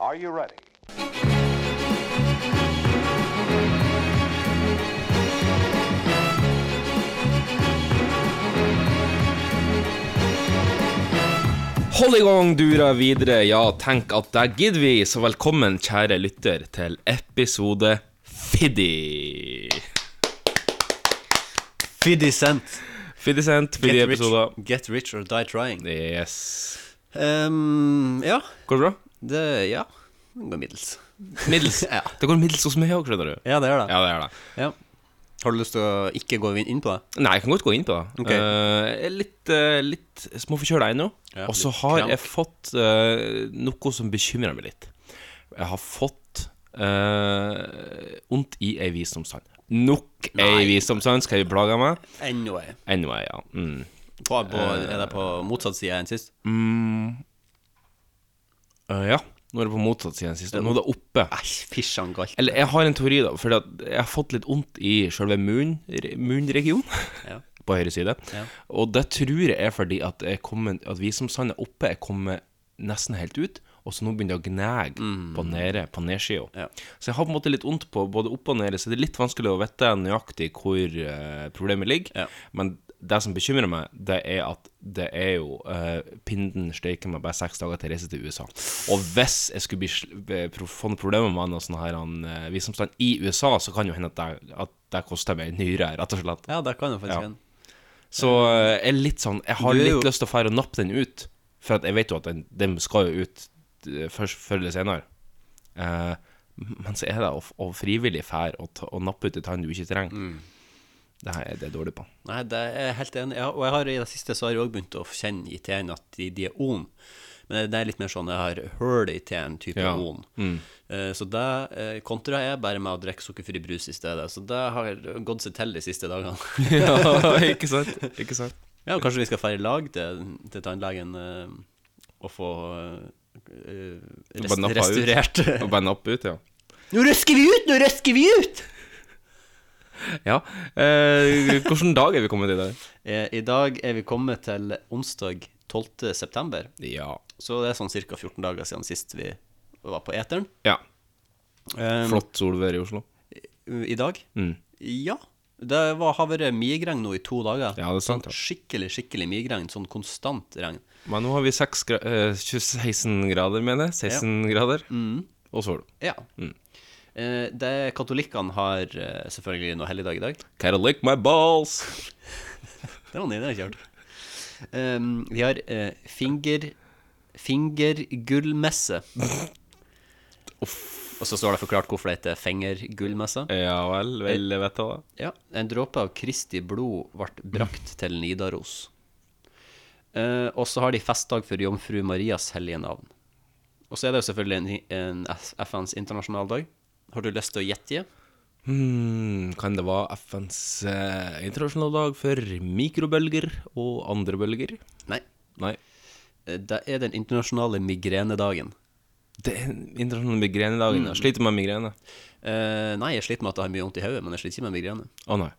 Are you ready? Hold i gang dura videre, ja, tenk at det gidder vi, så velkommen, kjære lytter, til episode 50. Fiddy Cent. 50 cent, 50 rich, episoder. get rich or die trying. Yes. Ehm, ja, Går det bra? det Ja. Det går middels. Middels. Ja. Det går middels hos meg òg, skjønner du. Ja, det gjør det. Ja, det er det. Ja. Har du lyst til å ikke gå inn på det? Nei, jeg kan godt gå inn på det. Ok. Eh, jeg er litt, uh, litt småforkjøla ennå. Ja, og så litt har krank. jeg fått eh, noe som bekymrer meg litt. Jeg har fått eh, vondt i ei visdomstann. Nok ei visdomstann skal jeg plage meg. Anyway. Anyway, ja. Mm. På, på, er det på motsatt side enn sist? Eh, ja. Nå er det på motsatt side enn sist. og Nå er det oppe. Æsj, fisjan galt. Eller jeg har en teori, da. Fordi at jeg har fått litt vondt i sjølve munn- re- munnregionen. Ja. På høyre side. Ja. Og det tror jeg er fordi at, jeg kommer, at vi som sand er oppe, er kommet nesten helt ut. Og så nå begynner det å gnage på, nede, på nedsida. Mm. Ja. Så jeg har på en måte litt vondt på både opp og nede, så det er litt vanskelig å vite nøyaktig hvor eh, problemet ligger. Ja. Men det som bekymrer meg, det er at det er jo eh, Pinden steiker meg bare seks dager til jeg reiser til USA. Og hvis jeg skulle bli, sl- eh, pro- få noen problemer med noe sånn her han, eh, visdomsstand i USA, så kan jo hende at det, at det koster meg en nyre, rett og slett. Ja, der kan du faktisk Ja. hende. Så eh, jeg er litt sånn Jeg har Du er litt jo- lyst til å fære og nappe den ut. For at jeg vet jo at den, den skal jo ut eh, først før eller senere. Eh, men så er det å, f- å frivillig fære og, ta- og nappe ut en tann du ikke trenger. Mm. Det her er det jeg er dårlig på. Nei, det er jeg helt enig. Ja, og jeg har i det siste så har jeg òg begynt å kjenne i teen at de, de er on. Men det er litt mer sånn jeg har hull i teen type Ja. Mm. on. Eh, Så det eh, kontra jeg bare med å drikke sukkerfri brus i stedet. Så det har gått seg til de siste dagene. ja, ikke sant? Ikke sant? ja, og kanskje vi skal dra i lag til, til tannlegen eh, og få eh, Og rest, bare nappe ut. restaurert Og bare nappe ut, ja. Nå røsker vi ut! Nå røsker vi ut! Ja, eh, Hvilken dag er vi kommet til i dag? Eh, I dag er vi kommet til onsdag 12. september. Ja. Så det er sånn ca. 14 dager siden sist vi var på eteren. ja. Um, Flott solvær i Oslo. I dag? Mm. Ja. Det var, har vært migregn nå i to dager. Ja, det er sant, ja. Sånn skikkelig, skikkelig migregn. Sånn konstant regn. Men nå har vi seks gra eh, 16 grader, mener jeg. 16 grader. Og sol. Ja. Mm. Eh, det Katolikkene har eh, selvfølgelig noe helligdag i dag. Gotta lick my balls. Det var nydelig kjørt. Um, vi har eh, finger... Fingergullmesse. Og så står det forklart hvorfor det heter fingergullmesse. Ja vel, vel, jeg vet jeg det. Ja, en dråpe av Kristi blod ble brakt til Nidaros. Eh, og så har de festdag for jomfru Marias hellige navn. Og så er det jo selvfølgelig en, en F- FNs internasjonaldag. Har du lyst til å gjette? Hmm, kan det være FNs eh, internasjonale dag for mikrobølger og andre bølger? Nei. Nei. Eh, Det er den internasjonale migrenedagen. Det er den internasjonale migrenedagen. Jeg sliter med migrene. Eh, nei, jeg sliter med at jeg har mye vondt i hodet, men jeg sliter ikke med migrene. Å nei.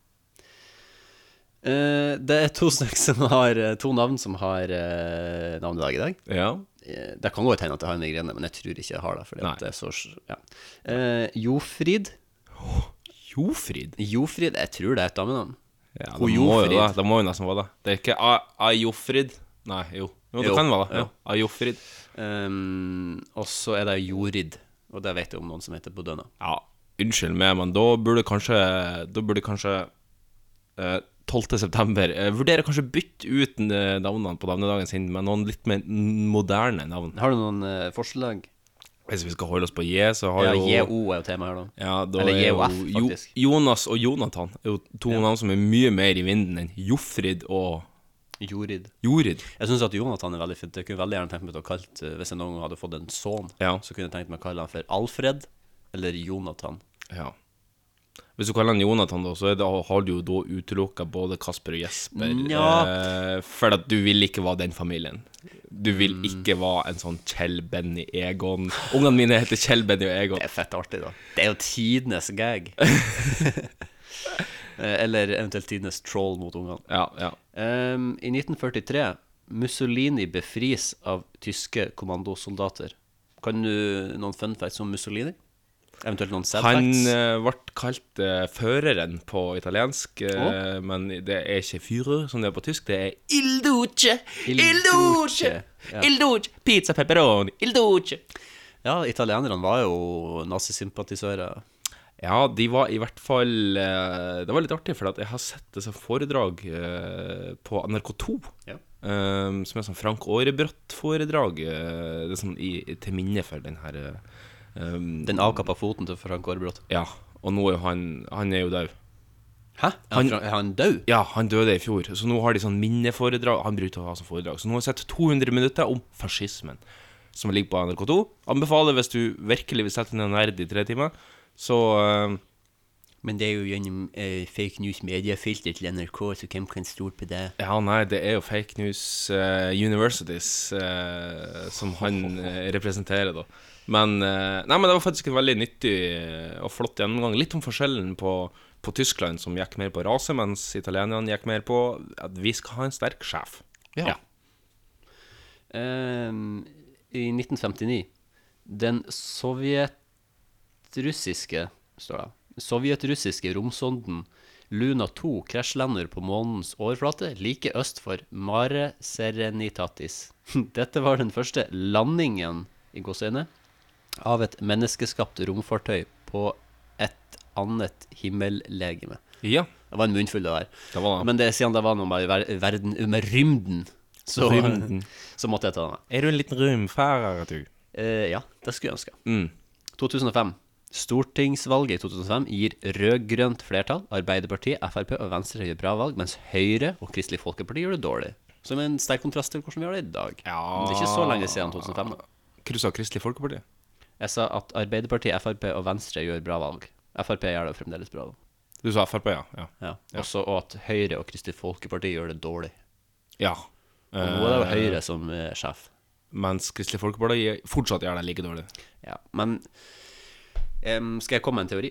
Eh, det er to, snakk som har, eh, to navn som har eh, navnedag i dag. Ja. Eh, Det kan godt hende at jeg har migrene, men jeg tror ikke jeg har det. Fordi Nei. at det er så, ja. Eh, Jofrid. Jofrid? Jofrid, jeg tror det er et damenavn. Ja, det må Hun jo Jofrid. det. Det må jo nesten være det. Det er ikke A- Ajofrid. Nei, jo. Jo, det Jo, kan være det. ja. Ja. Ajofrid. Um, og så er det Jorid, og det vet jeg om noen som heter Bodøna. Ja, unnskyld meg, men da burde kanskje Da burde kanskje eh, 12. september eh, Vurdere kanskje bytte ut eh, navnene på navnedagen sin med noen litt mer n- moderne navn. Har du noen eh, forslag? Hvis vi skal holde oss på J, så har Ja, jo JO er jo tema her, da. Ja, da Eller er jo JOF, Jo- faktisk. Jonas og Jonathan er jo to navn som er mye mer i vinden enn Jofrid og Jorid. Jorid. Jeg syns at Jonathan er veldig fint. Jeg kunne veldig gjerne tenkt meg å kalle eh, Hvis jeg noen gang hadde fått en sønn, Ja. så kunne jeg tenkt meg å kalle han for Alfred eller Jonathan. Ja. Hvis du kaller han Jonathan, da, så er det, har du jo da utelukka både Kasper og Jesper. Nja. eh, for at du vil ikke være den familien. Du vil ikke være en sånn Kjell, Benny, Egon. Ungene mine heter Kjell, Benny og Egon. Det er fett artig, da. Det er jo tidenes gag. Eh, eller eventuelt tidenes troll mot ungene. Ja, ja. Um, I 1943 Mussolini befris av tyske kommandosoldater. Kan du noen fun facts om Mussolini? Eventuelt noen sad Han facts? eh, ble kalt eh, føreren på italiensk, eh, men det er ikke Führer som det er på tysk. Det er Il Duce! Il Il Duce! Duce, ja. Il Duce! Pizza pepperoni! Il Duce! Ja, italienerne var jo nazisympatisører. Ja, de var i hvert fall eh, Det var litt artig, for at jeg har sett det som foredrag eh, på NRK2. Ja. eh, som er sånn Frank Aarebrot-foredrag. eh, det er sånn i, til minne for den her eh, um, Den avkappa foten til Frank Aarebrot. Ja. Og nå er jo han Han er jo død. Hæ? Er han, er han død? Ja, han døde i fjor, så nå har de sånn minneforedrag. Han brukte å ha sånn foredrag. Så nå har jeg sett 200 minutter om fascismen, som ligger på NRK2. Anbefaler hvis du virkelig vil sette deg ned og nerde i tre timer. Så eh, Men det er jo gjennom eh, fake news-mediefilter til NRK, så hvem kan stole på det? Ja, nei, det er jo fake news eh, universities eh, som han eh, representerer, da. Men, eh, nei, men det var faktisk en veldig nyttig eh, og flott gjennomgang. Litt om forskjellen på, på Tyskland, som gikk mer på rase, mens italienerne gikk mer på at vi skal ha en sterk sjef. Ja. Ehm, I 1959 Den sovjetrussiske Står det Sovjetrussiske romsonden Luna 2 krasjlander på månens overflate like øst for Mare Serenitatis. Dette var den første landingen i gåseøyne av et menneskeskapt romfartøy på et annet himmellegeme. Ja, Det var en munnfull, det der. det var det. Men det, siden det var noe med ver verden med rymden, så, Rymden. så måtte jeg ta den. Er du en liten rømfærer, du? Eh, ja, det skulle jeg ønske. Mm. 2005. Stortingsvalget i 2005 gir rød-grønt flertall. Arbeiderpartiet, Frp og Venstre gjør bra valg, mens Høyre og Kristelig Folkeparti gjør det dårlig. Som en sterk kontrast til hvordan vi har det i dag. Ja. Det er ikke så lenge siden 2005. da. Hva du sa Kristelig Folkeparti? Jeg sa at Arbeiderpartiet, Frp og Venstre gjør bra valg. Frp gjør det fremdeles bra. da. Du sa Frp, ja. Ja. Ja. Også og at Høyre og Kristelig Folkeparti gjør det dårlig. ja. Og nå er det jo Høyre som er sjef. Mens Kristelig Folkeparti fortsatt gjør det like dårlig. Ja, men em, skal jeg komme med en teori?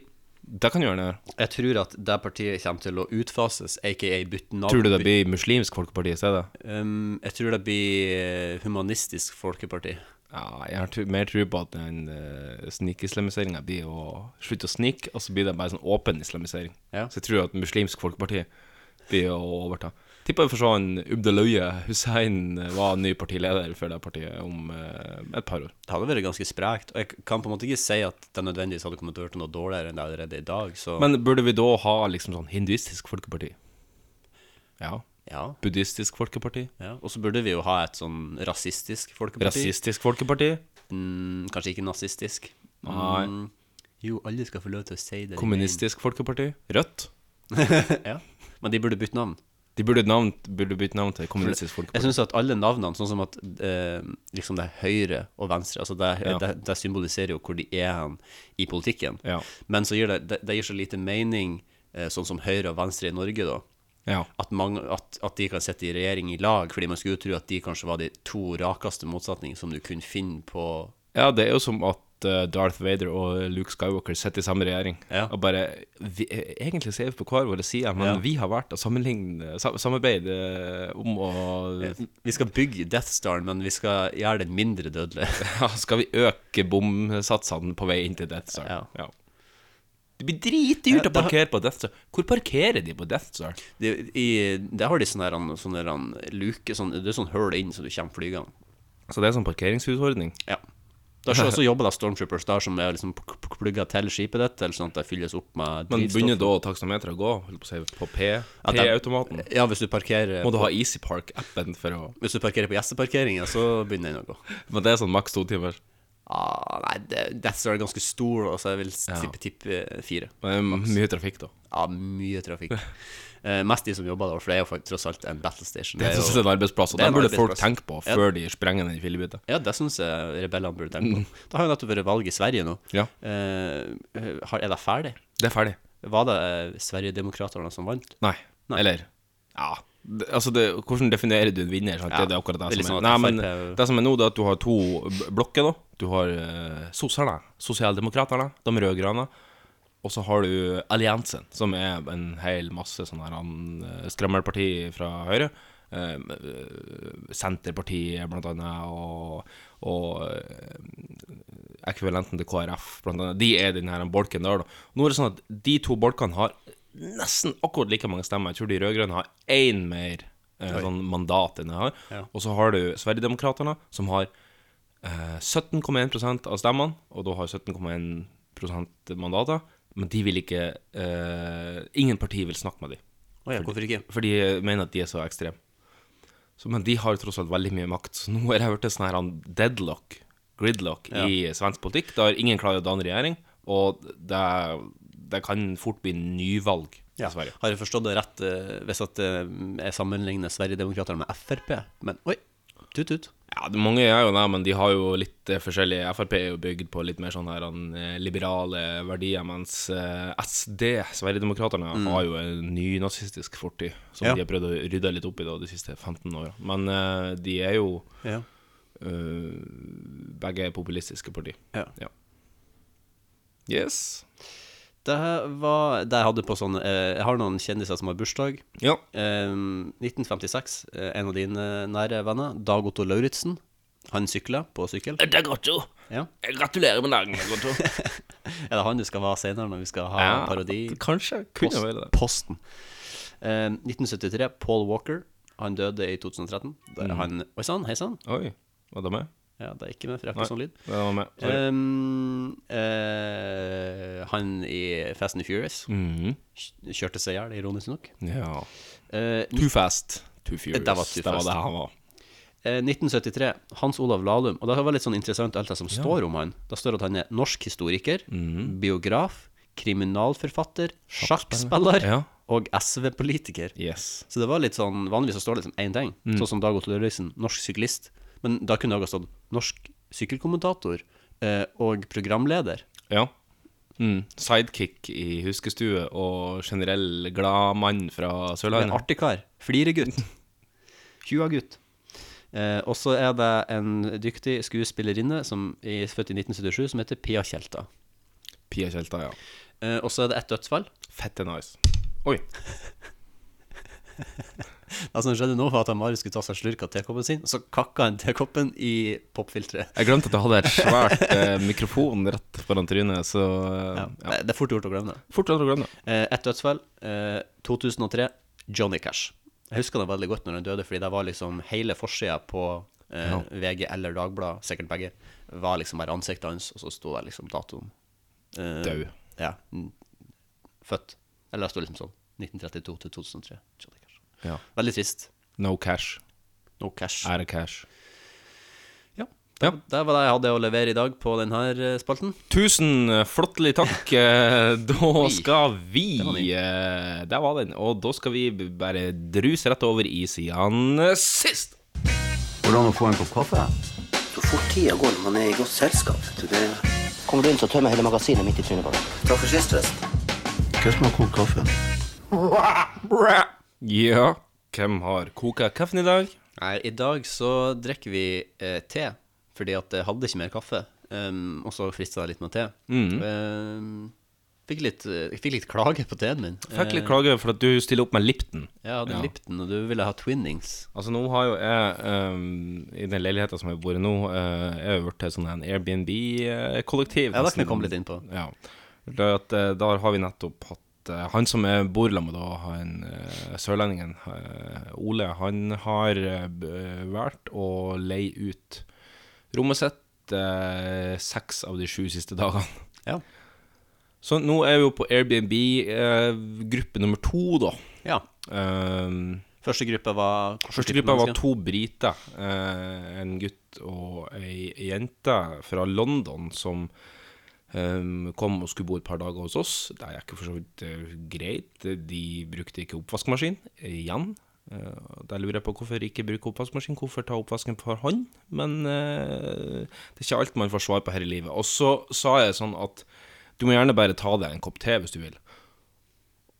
Det kan gjøre det. Jeg tror at det partiet kommer til å utfases, aka bytte navn. Tror du det blir Muslimsk Folkeparti i stedet? Em, jeg tror det blir eh, Humanistisk Folkeparti. Ja, jeg har tru- mer tro på at den uh, snikislamiseringa blir å slutte å snike, og så blir det bare sånn åpen islamisering. Ja. Så jeg tror at Muslimsk Folkeparti blir å overta. Tipper vi får se en Ubdaløye Hussein eh, var ny partileder for det partiet om eh, et par år. Det hadde vært ganske sprekt. Og jeg kan på en måte ikke si at det nødvendigvis hadde kommet til å være noe dårligere enn det er allerede i dag, så Men burde vi da ha liksom sånn hinduistisk folkeparti? Ja. ja. Buddhistisk folkeparti? ja. Og så burde vi jo ha et sånn rasistisk folkeparti. Rasistisk folkeparti? Mm, kanskje ikke nazistisk. Nei. Mm, jo, alle skal få lov til å si det. de Kommunistisk folkeparti? Rødt? mener. ja. Men de burde bytte navn. De burde, navn, burde bytte navn til Kommunistisk Jeg folkeparti. syns at alle navnene, sånn som at eh, liksom det er høyre og venstre, altså det, Ja. det, det symboliserer jo hvor de er hen i politikken. Ja. Men så gir det, det, det gir så lite mening, eh, sånn som høyre og venstre i Norge, da. Ja. At, mange, at, at de kan sitte i regjering i lag, fordi man skulle jo tro at de kanskje var de to rakeste motsetningene som du kunne finne på Ja, det er jo som at eh, Darth Vader og Luke Skywalker sitter i samme regjering. Ja. Og bare vi, eh, Egentlig så er vi på hver vår side, men Ja. vi har valgt å sammenligne sa- samarbeide eh, om å Vi skal bygge Death Star, men vi skal gjøre den mindre dødelig. ja, Skal vi øke bomsatsene på vei inn til Death Star? Ja. Det blir dritdyrt å Ja, da- parkere på Death Star. Hvor parkerer de på Death Star? Det, i, der har de sånne, her- sånne her luke, sånn, det er sånn hull inn så du kommer flygende. Så det er sånn parkeringshusordning. Ja. Da så, så jobber da Stormtroopers der som er liksom pl- pl- plugget til skipet ditt, eller sånn at det fylles opp med Men drivstoff. begynner da taksameteret å gå holdt på, å si, på P? At de- P-automaten? Ja, hvis du parkerer, Må du ha Easy Park-appen for å hvis du parkerer på gjesteparkeringen, så begynner den å gå. Men det er sånn maks to timer. Ah, nei, det, Death Star er ganske stor, da, så jeg vil Ja. tippe tippe fire. Men det er mye trafikk, da. Ja, mye trafikk. Eh, mest de som jobber der, for det er jo fakt- tross alt en battle station. Det er jo- jo en arbeidsplass, og Det er den en burde folk arbeidsplass. tenke på Ja. før de sprenger den i fillebiter. Ja, det syns jeg rebellene burde tenke på. Det har jo nettopp vært valg i Sverige nå. Ja. Eh, har- er det ferdig? Det er ferdig. Var det eh, Sverigedemokraterna som vant? Nei. Nei. Eller Ja. Det, altså det, hvordan definerer du en vinner? Sant? Ja, Det er akkurat det, det er litt som er. sånn at Nei, men FrP det som er nå, det er at du har to b- blokker. da Du har uh, sosserne, sosialdemokraterne, de rød-grønne. Og så har du Alliansen, som er en hel masse sånn her han, eh, skremmelparti fra Høyre. eh, Senterpartiet, blant annet, og, og eh, ekvivalenten til KrF, blant annet. De er den her bolken der, da. Nå er det sånn at de to bolkene har nesten akkurat like mange stemmer. Jeg tror de rød-grønne har én mer eh, sånn mandat enn jeg har. Ja. Og så har du Sverigedemokraterna, som har eh, 17,1 av stemmene, og da har 17,1 mandater. Men de vil ikke eh, Ingen parti vil snakke med dem, Å ja, hvorfor ikke? for de mener at de er så ekstreme. Så, men de har tross alt veldig mye makt, så nå har jeg hørt en sånn her han deadlock, gridlock, i svensk politikk, der ingen klarer å danne regjering, og det, det kan fort bli nyvalg i Sverige. Har jeg forstått det rett eh, hvis at eh, jeg sammenligner Sverigedemokraterna med Frp? Men oi, tut-tut. Ja, det, mange er jo det, men de har jo litt eh, forskjellige Frp er jo bygd på litt mer sånn her han, eh, liberale verdier, mens eh, SD, Sverigedemokraterna, har jo en nynazistisk fortid som Ja. de har prøvd å rydde litt opp i da, de siste 15 åra. Men eh, de er jo Ja. eh, begge populistiske partier. ja. Ja. Yes. Det her var det jeg hadde på sånn eh, Jeg har noen kjendiser som har bursdag. Ja. Eh, 1956, eh, en av dine nære venner, Dag Otto Lauritzen. Han sykler på sykkel. Eh, Det er godt, jo. Ja. Gratulerer med dagen. Er det han du skal ha senere, når vi skal ha parodi? Kanskje. Kunne Post, være det. Posten. Eh, 1973, Paul Walker. Han døde i 2013. Der Mm. er han Oi sann, hei sann. Oi, var det meg? Ja, det er ikke med, for jeg har Nei. ikke sånn lyd. Det var meg. Sorry. Um, eh, han i Fast and the Furious Mhm. kj- kjørte seg i hjel, ironisk nok. Ja. Eh, ni- Too fast, too furious. Det Eh, var too det, var fast. det han var. eh, 1973, Hans Olav Lahlum. Og det var litt sånn interessant alt det som står om han. Da står det at han er norsk historiker, Mm. biograf, kriminalforfatter, sjakkspiller Ja. og SV-politiker. Yes. Så det var litt sånn Vanligvis så står det liksom én ting, Mm. sånn som Dag Otto Lauritzen, norsk syklist. Men da kunne det også stått norsk sykkelkommentator eh, og programleder. Ja. Mm. Sidekick i huskestue og generell glad mann fra En Sørlandet. artig kar. Fliregutt. Tjuagutt. Eh, og så er det en dyktig skuespillerinne som er født i 1977 som heter Pia Tjelta. Pia Tjelta, ja. Eh, og så er det ett dødsfall. Fette nice. Oi. Det som skjedde nå, var at han Marius skulle ta seg en slurk av tekoppen sin, og så kakka han tekoppen i popfilteret. Jeg glemte at jeg hadde et svært eh, mikrofon rett foran trynet, så eh, Ja. Det- Det er fort gjort å glemme det. Fortsatt å glemme det. Eh, ett dødsfall. Eh, 2003, Johnny Cash. Jeg husker det veldig godt når han døde, fordi det var liksom hele forsida på eh, Ja. VG eller Dagbladet, sikkert begge, var liksom bare ansiktet hans, og så sto det liksom datoen. Eh, Død. Ja. mm, Født. Eller det sto liksom sånn. 1932 til 2003. Johnny Cash. Ja. Veldig trist. No cash. No cash. Ære cash. Ja. Ja. Det var det jeg hadde å levere i dag på denne spalten. Tusen eh, flottelig takk. Eh, Da Oi, skal vi den var ny. eh, Der var den. Og da skal vi b- bare druse rett over i siden sist. Går det an å få en kopp kaffe? Så fort tida går når man er i godt selskap. vet du, Det... Kommer du inn, så tømmer jeg hele magasinet midt i trynet på deg. Takk for sist, Vest. Hvem som har kokt kaffe? Ja, hvem har koka kaffen i dag? Nei, i dag så drikker vi eh, te, fordi at jeg hadde ikke mer kaffe. Um, og så frista det litt med te. Mm. Um, fikk, litt, eh, jeg fikk litt klage på teen min. Fikk litt klage for at du stiller opp med Lipton. Eh, jeg hadde Ja. Lipton, og du ville ha Twinnings. Altså, nå har jo jeg, eh, i den leiligheten som jeg bor i nå, eh, jeg har jo blitt sånn en Airbnb-kollektiv. Ja, det kan vi komme litt inn på. Ja. Det er at, eh, der har vi nettopp hatt eh, Han som jeg bor sammen med, da, han eh, sørlendingen eh, Ole, han har eh, b- valgt å leie ut rommet sitt eh, seks av de sju siste dagene. Ja. Så nå er vi jo på Airbnb-gruppe nummer to, da. ja. Eh, Første gruppa var hvilken Første type gruppa var mennesker? to briter. Eh, en gutt og ei ei jente fra London som eh, kom og skulle bo et par dager hos oss. Det gikk jo for så vidt eh, greit. De brukte ikke oppvaskmaskin igjen. Eh, der lurer jeg på hvorfor ikke bruke oppvaskmaskin. Hvorfor ta oppvasken for hånd? Men eh, det er ikke alt man får svar på her i livet. Og så sa jeg sånn at du må gjerne bare ta deg en kopp te hvis du vil.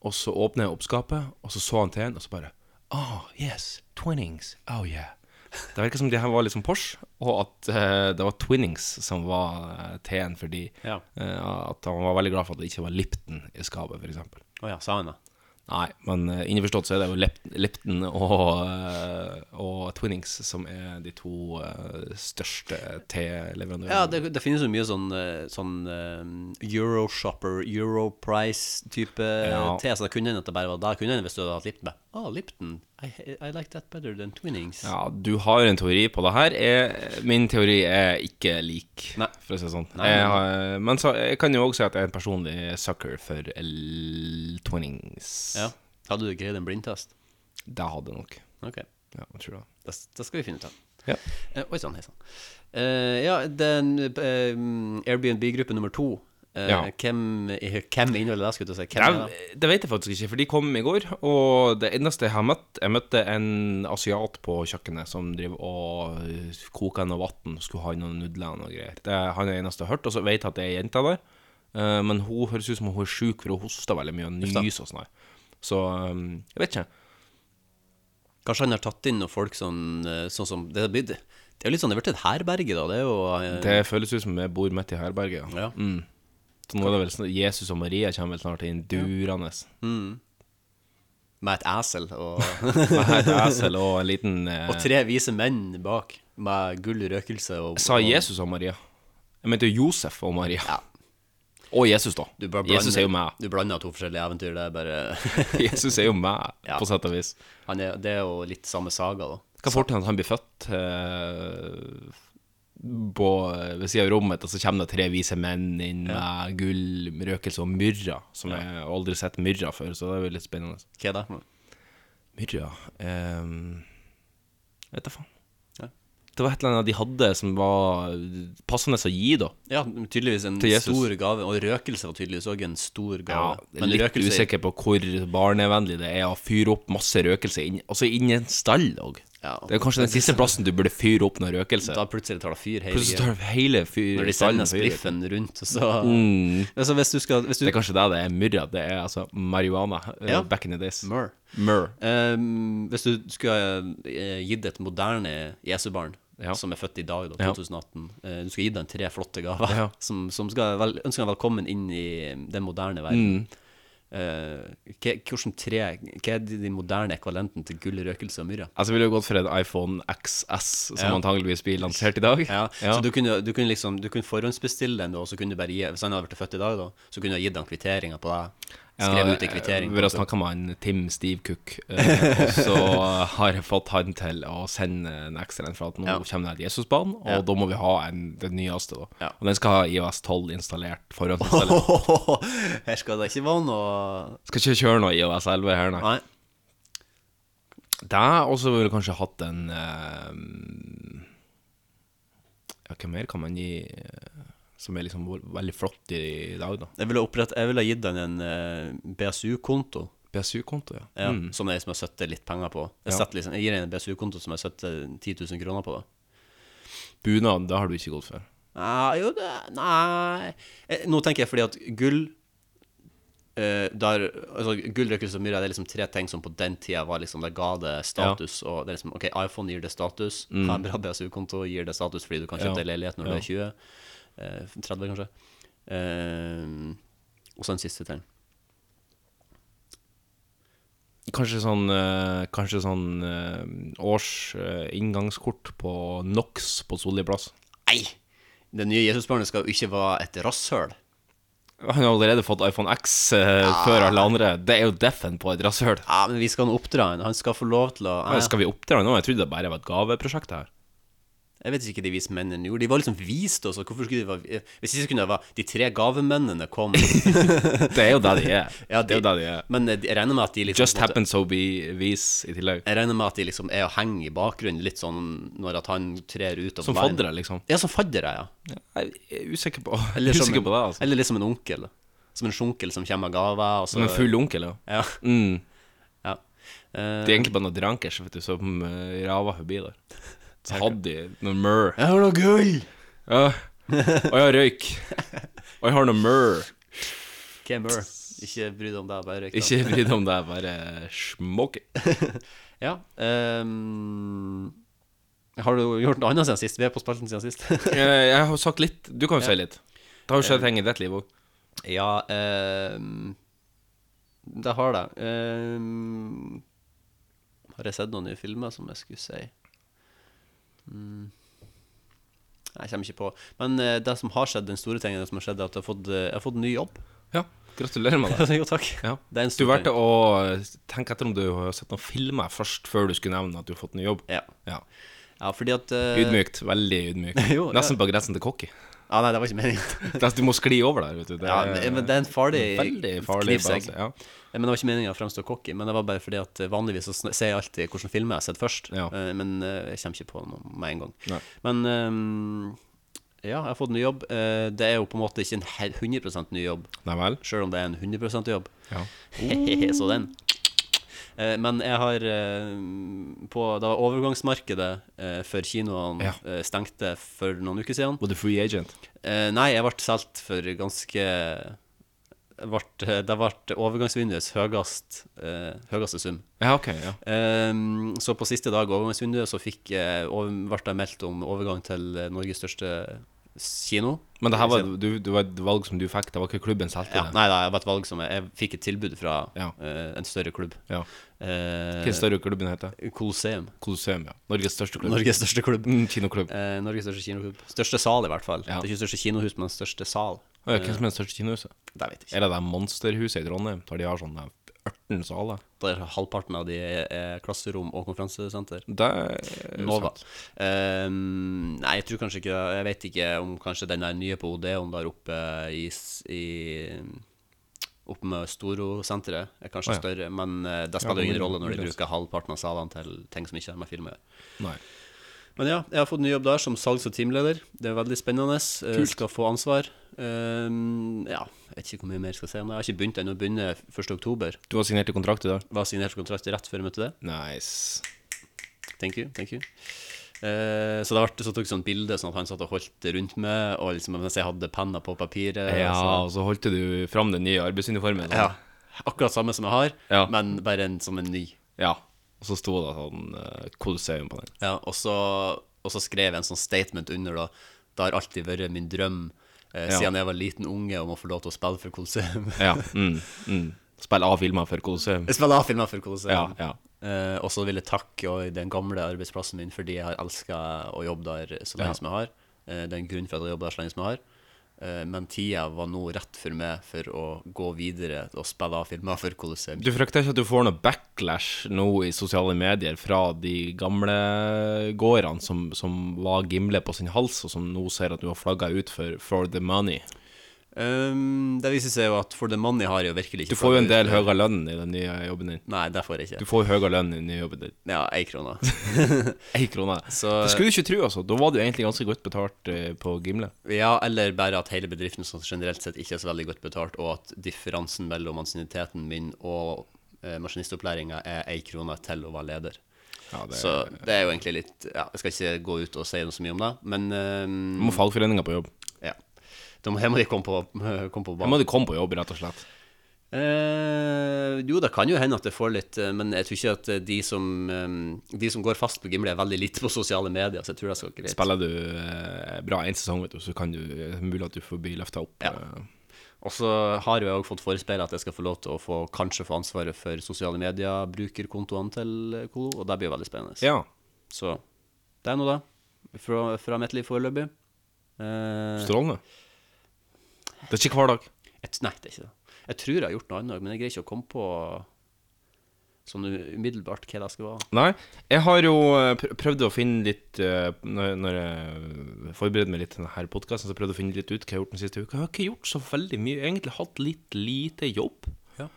Og så åpnet jeg opp skapet, og så så han til en, og så bare Oh, yes, twinnings, oh yeah. Det virker som de her var liksom Porsche, og at eh, det var twinnings som var eh, teen fordi Ja. eh, at han var veldig glad for at det ikke var Lipton i skapet, f.eks. Å ja, sa han da. Nei, men eh, innforstått så er det jo Lep- Lepton og, eh, og Twinnings som er de to eh, største te-leverandørene. Ja, det, det finnes jo mye sånn, eh, sånn eh, Euroshopper, Europrice-type eh, Ja. te, så det kunne hende at det bare var der. Kunne hende hvis du hadde hatt Lipton. bare, Ah, Lipton. I, I like that better than Twinnings. Ja, du har en teori på det her. Jeg, min teori er ikke lik, Nei. for å si det sånn. Nei. Jeg har, men så, jeg kan jo også si at jeg er en personlig sucker for L Twinnings. Ja. Hadde du greid en blindtest? Det hadde jeg nok. Ok, Ja, jeg tror det. det, det skal vi finne ut av. Ja. Eh, Oi sann, hei sann. Eh, ja, den eh, Airbnb-gruppe nummer to. Eh, Ja. Hvem, hvem inneholder det, skulle jeg til å si? Hvem er det? Det, det vet jeg faktisk ikke, for de kom i går. Og det eneste jeg har møtt Jeg møtte en asiat på kjøkkenet som driver og øh, koker noe vann. Skulle ha noen nudler og noe greier. Det er han er den eneste jeg har hørt, og så vet jeg at det er ei jente der. Eh, Men hun høres ut som hun er sjuk, for hun hoster veldig mye og nyser og sånn. her. Så øhm, jeg vet ikke. Kanskje han har tatt inn noen folk sånn, eh, sånn som Det er blitt- det er jo litt sånn, det er blitt et herberge, da. Det er jo eh, Det føles ut som jeg bor midt i herberget. Ja. ja. Så nå er det vel sånn, Jesus og Maria kommer vel snart inn durende. Med et esel og, Med et esel og en liten eh, og tre vise menn bak, med gull røkelse og Sa og- Jesus og Maria? Jeg mente jo Josef og Maria. Ja. Og Jesus, da. Du bare Jesus er jo meg. Du blander to forskjellige eventyr. Det er bare Jesus er jo meg, Ja. på sett og vis. han er, Det er jo litt samme saga, da. Hva får til at han blir født eh, på, eh, ved siden av rommet, og så kommer det tre vise menn inn med gull, røkelse og myrra, som jeg har aldri sett myrra før, så det er jo litt spennende. Hva er det? for noe? Myrra um, Vet da faen. Ja. Det var et eller annet de hadde som var passende å gi, da. Ja, tydeligvis en Til Jesus. stor gave. Og røkelse var tydeligvis òg en stor Ja, gave. jeg er litt usikker på hvor barnevennlig det er å fyre opp masse røkelse inn, altså inn i en stall òg. Ja. Det er kanskje den siste plassen du burde fyre opp noe røkelse. Da plutselig tar det fyr hele Plutselig tida. står hele fyr, Når de stallen sender fyrer. spliffen rundt, så altså, Hvis du skal hvis du, Mm. Det er kanskje det det er myrra. Det er altså marihuana eh, Ja. back in the days. Mør. Mør. Ehm, hvis du skulle eh, gitt et moderne Jesubarn, Ja. som er født i dag, da, Ja. 2018 eh, Du skulle gitt dem tre flotte gaver, Ja. som, som skal vel, ønsker dem velkommen inn i eh, den moderne verden. Mm. Eh, hva, hvordan tre, hva er de, de moderne ekvalenten til gull, røkelse og myrra? Altså ville jo gått for en iPhone XS, som Ja. antageligvis blir lansert i dag. Ja, Ja. Så du kunne, du kunne liksom Du kunne forhåndsbestille den, da, og så kunne du bare gi Hvis han hadde blitt født i dag, da, så kunne du ha gitt han kvitteringer på deg. Skrevet ut en kvittering. Vi har snakka med han Tim Steve Cook, eh, og så har jeg fått han til å sende en ekstra en, for at nå Ja. kommer det et Jesusbarn, og da må vi ha en, den nyeste. da Ja. Og den skal ha IOS12 installert. forhåndsinstallert. Her skal det ikke være noe Skal ikke kjøre noe IOS11 her, nei. Nei. Der også ville du kanskje hatt en eh, Ja, hva mer kan man gi eh, som er liksom vår- veldig flott i dag, da? Jeg ville, opprett, jeg ville gitt den en eh, BSU-konto, BSU-konto, ja. ja, som jeg som jeg setter litt penger på. Mm. Jeg, Ja. setter liksom, jeg gir den en BSU-konto som jeg setter 10 000 kroner på. da Bunad, det har du ikke gått for. Nei, jo, det, nei. Eh, Nå tenker jeg fordi at gull eh, der, altså, Gull, røkelse og myrra det er liksom tre ting som på den tida var liksom, det ga det status. Og det er liksom, ok, iPhone gir det status, ha en bra BSU-konto gir det status fordi du kan kjøpe Mm. Ja. deg leilighet når du Ja. er 20. Eh, 30, kanskje. Eh, og så en siste ting. Kanskje sånn, eh, kanskje sånn eh, års eh, inngangskort på NOx på Solli plass. Nei! Det nye Jesusbarnet skal jo ikke være et rasshøl. Han har allerede fått iPhone X eh, før alle andre. Det er jo deffen på et rasshøl. Ja, men vi skal nå oppdra han. Han skal få lov til å Men Skal vi oppdra nå? Jeg trodde det bare var et gaveprosjekt her. Jeg vet ikke de vise mennene gjorde. De var liksom vist også. Hvorfor skulle de være Hvis ikke kunne det være De tre gavemennene kom. Det er jo det de er. Ja, det er jo det de er. Men jeg jeg regner med at de liksom Just på en måte- happen so be vis i tillegg. Jeg regner med at de liksom er og henger i bakgrunnen, litt sånn når at han trer ut av Som veien. faddere, liksom. Ja, som faddere, ja. Jeg er usikker på, Eller som, usikker på det, altså. eller liksom en onkel. Som en sjunkel som kommer med gaver. og Som så- en full onkel, ja. Ja. Mm. ja. Eh, Det er egentlig bare noen drankers vet du, som eh, rava forbi der. Så hadde de noe mør. jeg har noe gull! Ja. Og jeg har røyk. Og jeg har noe mør. Kimmer. Ikke bry deg om det, bare røyk. da. Ikke bry deg om det, bare smoke. Ja. ehm, har du gjort noe annet siden sist? Vi er på spalten siden sist. Eh, Jeg har sagt litt. Du Eh. kan jo si litt. Det har jo skjedd ting i ditt liv òg. Ja ehm, Det har det. Ehm, har jeg sett noen nye filmer som jeg skulle si? Mm. Jeg kommer ikke på. Men eh, det som har skjedd, den store tingen som har skjedd, er at jeg har fått, eh, jeg har fått ny jobb. Ja, gratulerer med det. jo, takk. Ja. Det er en Du stor valgte ting. å tenke etter om du har sett noen filmer først, før du skulle nevne at du har fått ny jobb. Ja. Ja. ja, fordi at eh, Ydmykt. Veldig ydmykt. Jo, ja. Nesten på grensen til cocky. Ja, nei, det var ikke meningen. Det- Du må skli over der, vet du. Det ja, er- men det er en farlig Veldig farlig knivsegg. balanse. Ja. Eh, Men Det var ikke meningen å fremstå cocky, men det var bare fordi at eh, vanligvis så sn- ser jeg alltid hvilken film jeg har sett først. Ja. eh, Men eh, jeg kommer ikke på noe med en gang. Nei. Men ehm, ja, jeg har fått ny jobb. Eh, Det er jo på en måte ikke en hel- 100 ny jobb, Nei vel? sjøl om det er en 100 jobb. Ja. Så den. Eh, Men jeg har eh, på da overgangsmarkedet eh, for kinoene Ja. eh, stengte for noen uker siden Var du free agent? Eh, nei, jeg ble solgt for ganske jeg ble, Det ble overgangsvinduets høyest, eh, høyeste sum. Ja, OK. ja Ehm, så på siste dag av overgangsvinduet så fikk, eh, over, ble jeg meldt om overgang til eh, Norges største s- kino. Eh, Men det her var, du, det var et valg som du fikk, det var ikke klubben selv til ja, det? Nei da, det var et valg som jeg, jeg fikk et tilbud fra Ja. eh, en større klubb. Ja. Eh, Hva er større klubben heter? Colosseum. Colosseum, ja. Norges største klubb. Norges største klubb. Mm, kinoklubb. Eh, Norges største kinoklubb. Største sal, i hvert fall. Ja. Det er ikke største kinohus, men største sal. Å ja, Hvem som er det største kinohuset? Eh. Det vet jeg ikke. Er det det monsterhuset i Trondheim, der de har sånne 18 saler? Der halvparten av de er, er klasserom og konferansesenter. Det er Nova. sant. Ehm, nei, jeg tror kanskje ikke det. Jeg vet ikke om kanskje den der nye på Odeon der oppe i, s- i Oppe med Storo-senteret er Å, kanskje ja. større, men eh, det Ja, spiller jo ingen men- rolle når de men- bruker halvparten av salene til ting som ikke har med film å gjøre. Nei. Men ja, jeg har fått ny jobb der som salgs- og teamleder. Det er veldig spennende. Jeg skal få ansvar. Ehm, ja, jeg vet ikke hvor mye mer jeg skal si om det. Jeg har ikke begynt ennå. Begynner 1.10. Du har signert i kontrakt i dag? Var signert kontrakt rett før jeg møtte det. Nice. Thank you, thank you. Eh, så det ble, så tok jeg sånn bilde sånn at han satt og holdt det rundt meg, og liksom mens jeg hadde penna på papiret. Ja, og og så holdt du fram den nye arbeidsuniformen. så, sånn. ja. Akkurat samme som jeg har, Ja. men bare en, som en ny. ja. Og så sto det sånn eh, Colosseum på den. Ja, og, så, og så skrev jeg en sånn statement under, da. Det har alltid vært min drøm eh, Ja. siden jeg var liten unge om å få lov til å spille for Colosseum. Ja. Mm, mm. Spille av filmer for Colosseum. Jeg spiller A-filmer for Colosseum. Ja, ja. Eh, og så vil jeg takke og den gamle arbeidsplassen min fordi jeg har elska å jobbe der så lenge Ja. som jeg har. Eh, det er en grunn for at jeg jobber der så lenge som jeg har. Eh, men tida var nå rett for meg for å gå videre og spille A-filmer for Colosseum. Du frykter ikke at du får noe backlash nå i sosiale medier fra de gamle gårdene som, som var gimle på sin hals, og som nå ser at du har flagga ut for, for the money? Ehm, det viser seg jo at For the money har jeg jo virkelig ikke Du får jo en flagget del ut. høyere lønn i den nye jobben din. Nei, det får jeg Du ikke. får jo høyere lønn i den nye jobben din. Ja, én krone. Én krone. Så- Det skulle du ikke tro, altså. Da var du egentlig ganske godt betalt eh, på gimle. Ja, eller bare at hele bedriften sånn generelt sett ikke er så veldig godt betalt, og at differansen mellom ansienniteten min og eh, maskinistopplæringa er én krone til å være leder. Ja, det, Så det er jo egentlig litt ja, Jeg skal ikke gå ut og si noe så mye om det, men Nå må fagforeninga på jobb. eh, ja. Da må- Her må de komme på, komme på Da må banen. de komme på jobb, rett og slett. Eh, jo, det kan jo hende at det får litt eh, Men jeg tror ikke at eh, de som, eh, de som går fast på Gimle, er veldig lite på sosiale medier, så jeg tror det skal gå greit. Spiller du eh, bra én sesong, vet du, så kan du eh, mulig at du får bli løfta opp. Ja. eh, Og så har jeg òg fått forespeila at jeg skal få lov til å få, kanskje få ansvaret for sosiale medier, brukerkontoene til eh, Kolo, og det blir jo veldig spennende. ja. Så det er noe, da. Fra, fra mitt liv foreløpig. Eh, Strålende. Det er ikke hver dag. Jeg, t- nei, det er ikke det. Jeg tror jeg har gjort noe annet, men jeg greier ikke å komme på sånn umiddelbart hva det skal være. Nei, jeg har jo eh, pr- prøvd å finne litt eh, Når når jeg forbereder meg litt til denne podkasten, så prøvde jeg å finne litt ut hva jeg har gjort den siste uka. Jeg har ikke gjort så veldig mye. Jeg har egentlig hatt litt lite jobb. Ja.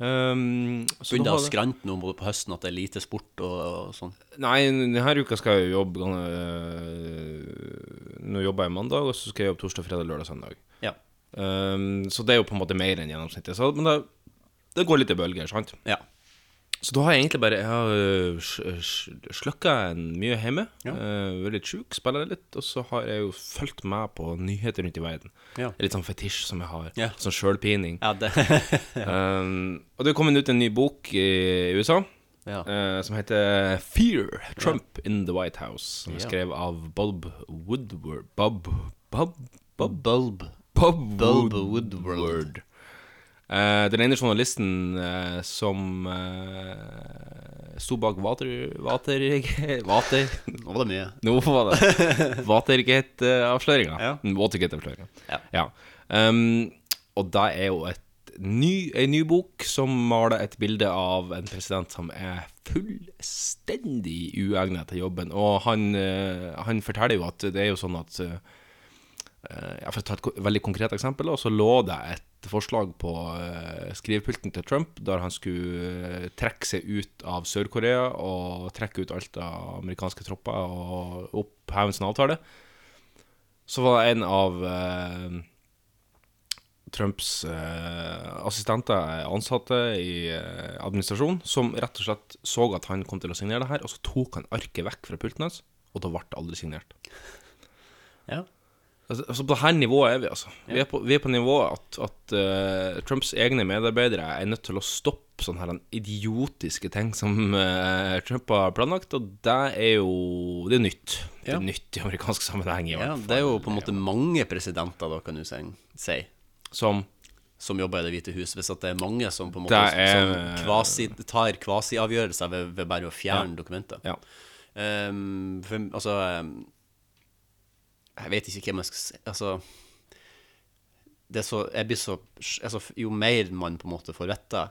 Um, så da Begynner å har jeg- skrante nå på høsten at det er lite sport og, og sånn. Nei, denne uka skal jeg jo jobbe øh, Nå jobber jeg mandag, og så skal jeg jobbe torsdag, fredag, lørdag, søndag. Ja. Um, så det er jo på en måte mer enn gjennomsnittet. Så, men det, det går litt i bølger, sant? ja. Så da har jeg egentlig bare Jeg har øh, sl- sl- slukka en mye hjemme. Ja. øh, vært litt sjuk, spiller litt. Og så har jeg jo fulgt med på nyheter rundt i verden. Ja. Litt sånn fetisj som jeg har. Ja. Sånn sjølpining. Ja, det Um, og det er kommet ut en ny bok i USA Ja. eh, som heter Fear Trump in the White House. Som er Ja. skrevet av Bob Woodward Bob Bob Bob Bulb. Bob Bob Woodward. Woodward. Eh, den ene journalisten eh, som eh, sto bak Vater... Vater... Vater Nå var det mye. Nå var det eh, Watergate-avsløringa. Ja. Watergate-avsløringa. Ja. Um, og det er jo et ny, en ny bok som maler et bilde av en president som er fullstendig uegnet til jobben. Og han, eh, han forteller jo at det er jo sånn at eh, Eh, ja, for å ta et ko- veldig konkret eksempel, da, så lå det et forslag på eh, skrivepulten til Trump, der han skulle eh, trekke seg ut av Sør-Korea og trekke ut alt av amerikanske tropper og oppheve sin avtale. Så var det en av eh, Trumps eh, assistenter, eh, ansatte i eh, administrasjonen, som rett og slett så at han kom til å signere det her, og så tok han arket vekk fra pulten hans, og da ble det aldri signert. Ja. Altså, altså På det her nivået er vi, altså. Vi er på, vi er på nivået at, at eh, Trumps egne medarbeidere er nødt til å stoppe sånne her idiotiske ting som eh, Trump har planlagt, og det er jo Det er nytt. Det Ja. er nytt i amerikansk sammenheng, i ja. hvert fall. Det er jo på en måte mange presidenter, da, kan du si, si Som som jobber i Det hvite hus, hvis at det er mange som på en måte Det er- som kvasi, tar kvasiavgjørelser ved, ved bare å fjerne dokumenter. Ja. Ehm, for, altså ehm, Jeg vet ikke hvem jeg skal si Altså det er så, jeg blir så, altså, Jo mer man på en måte får vite,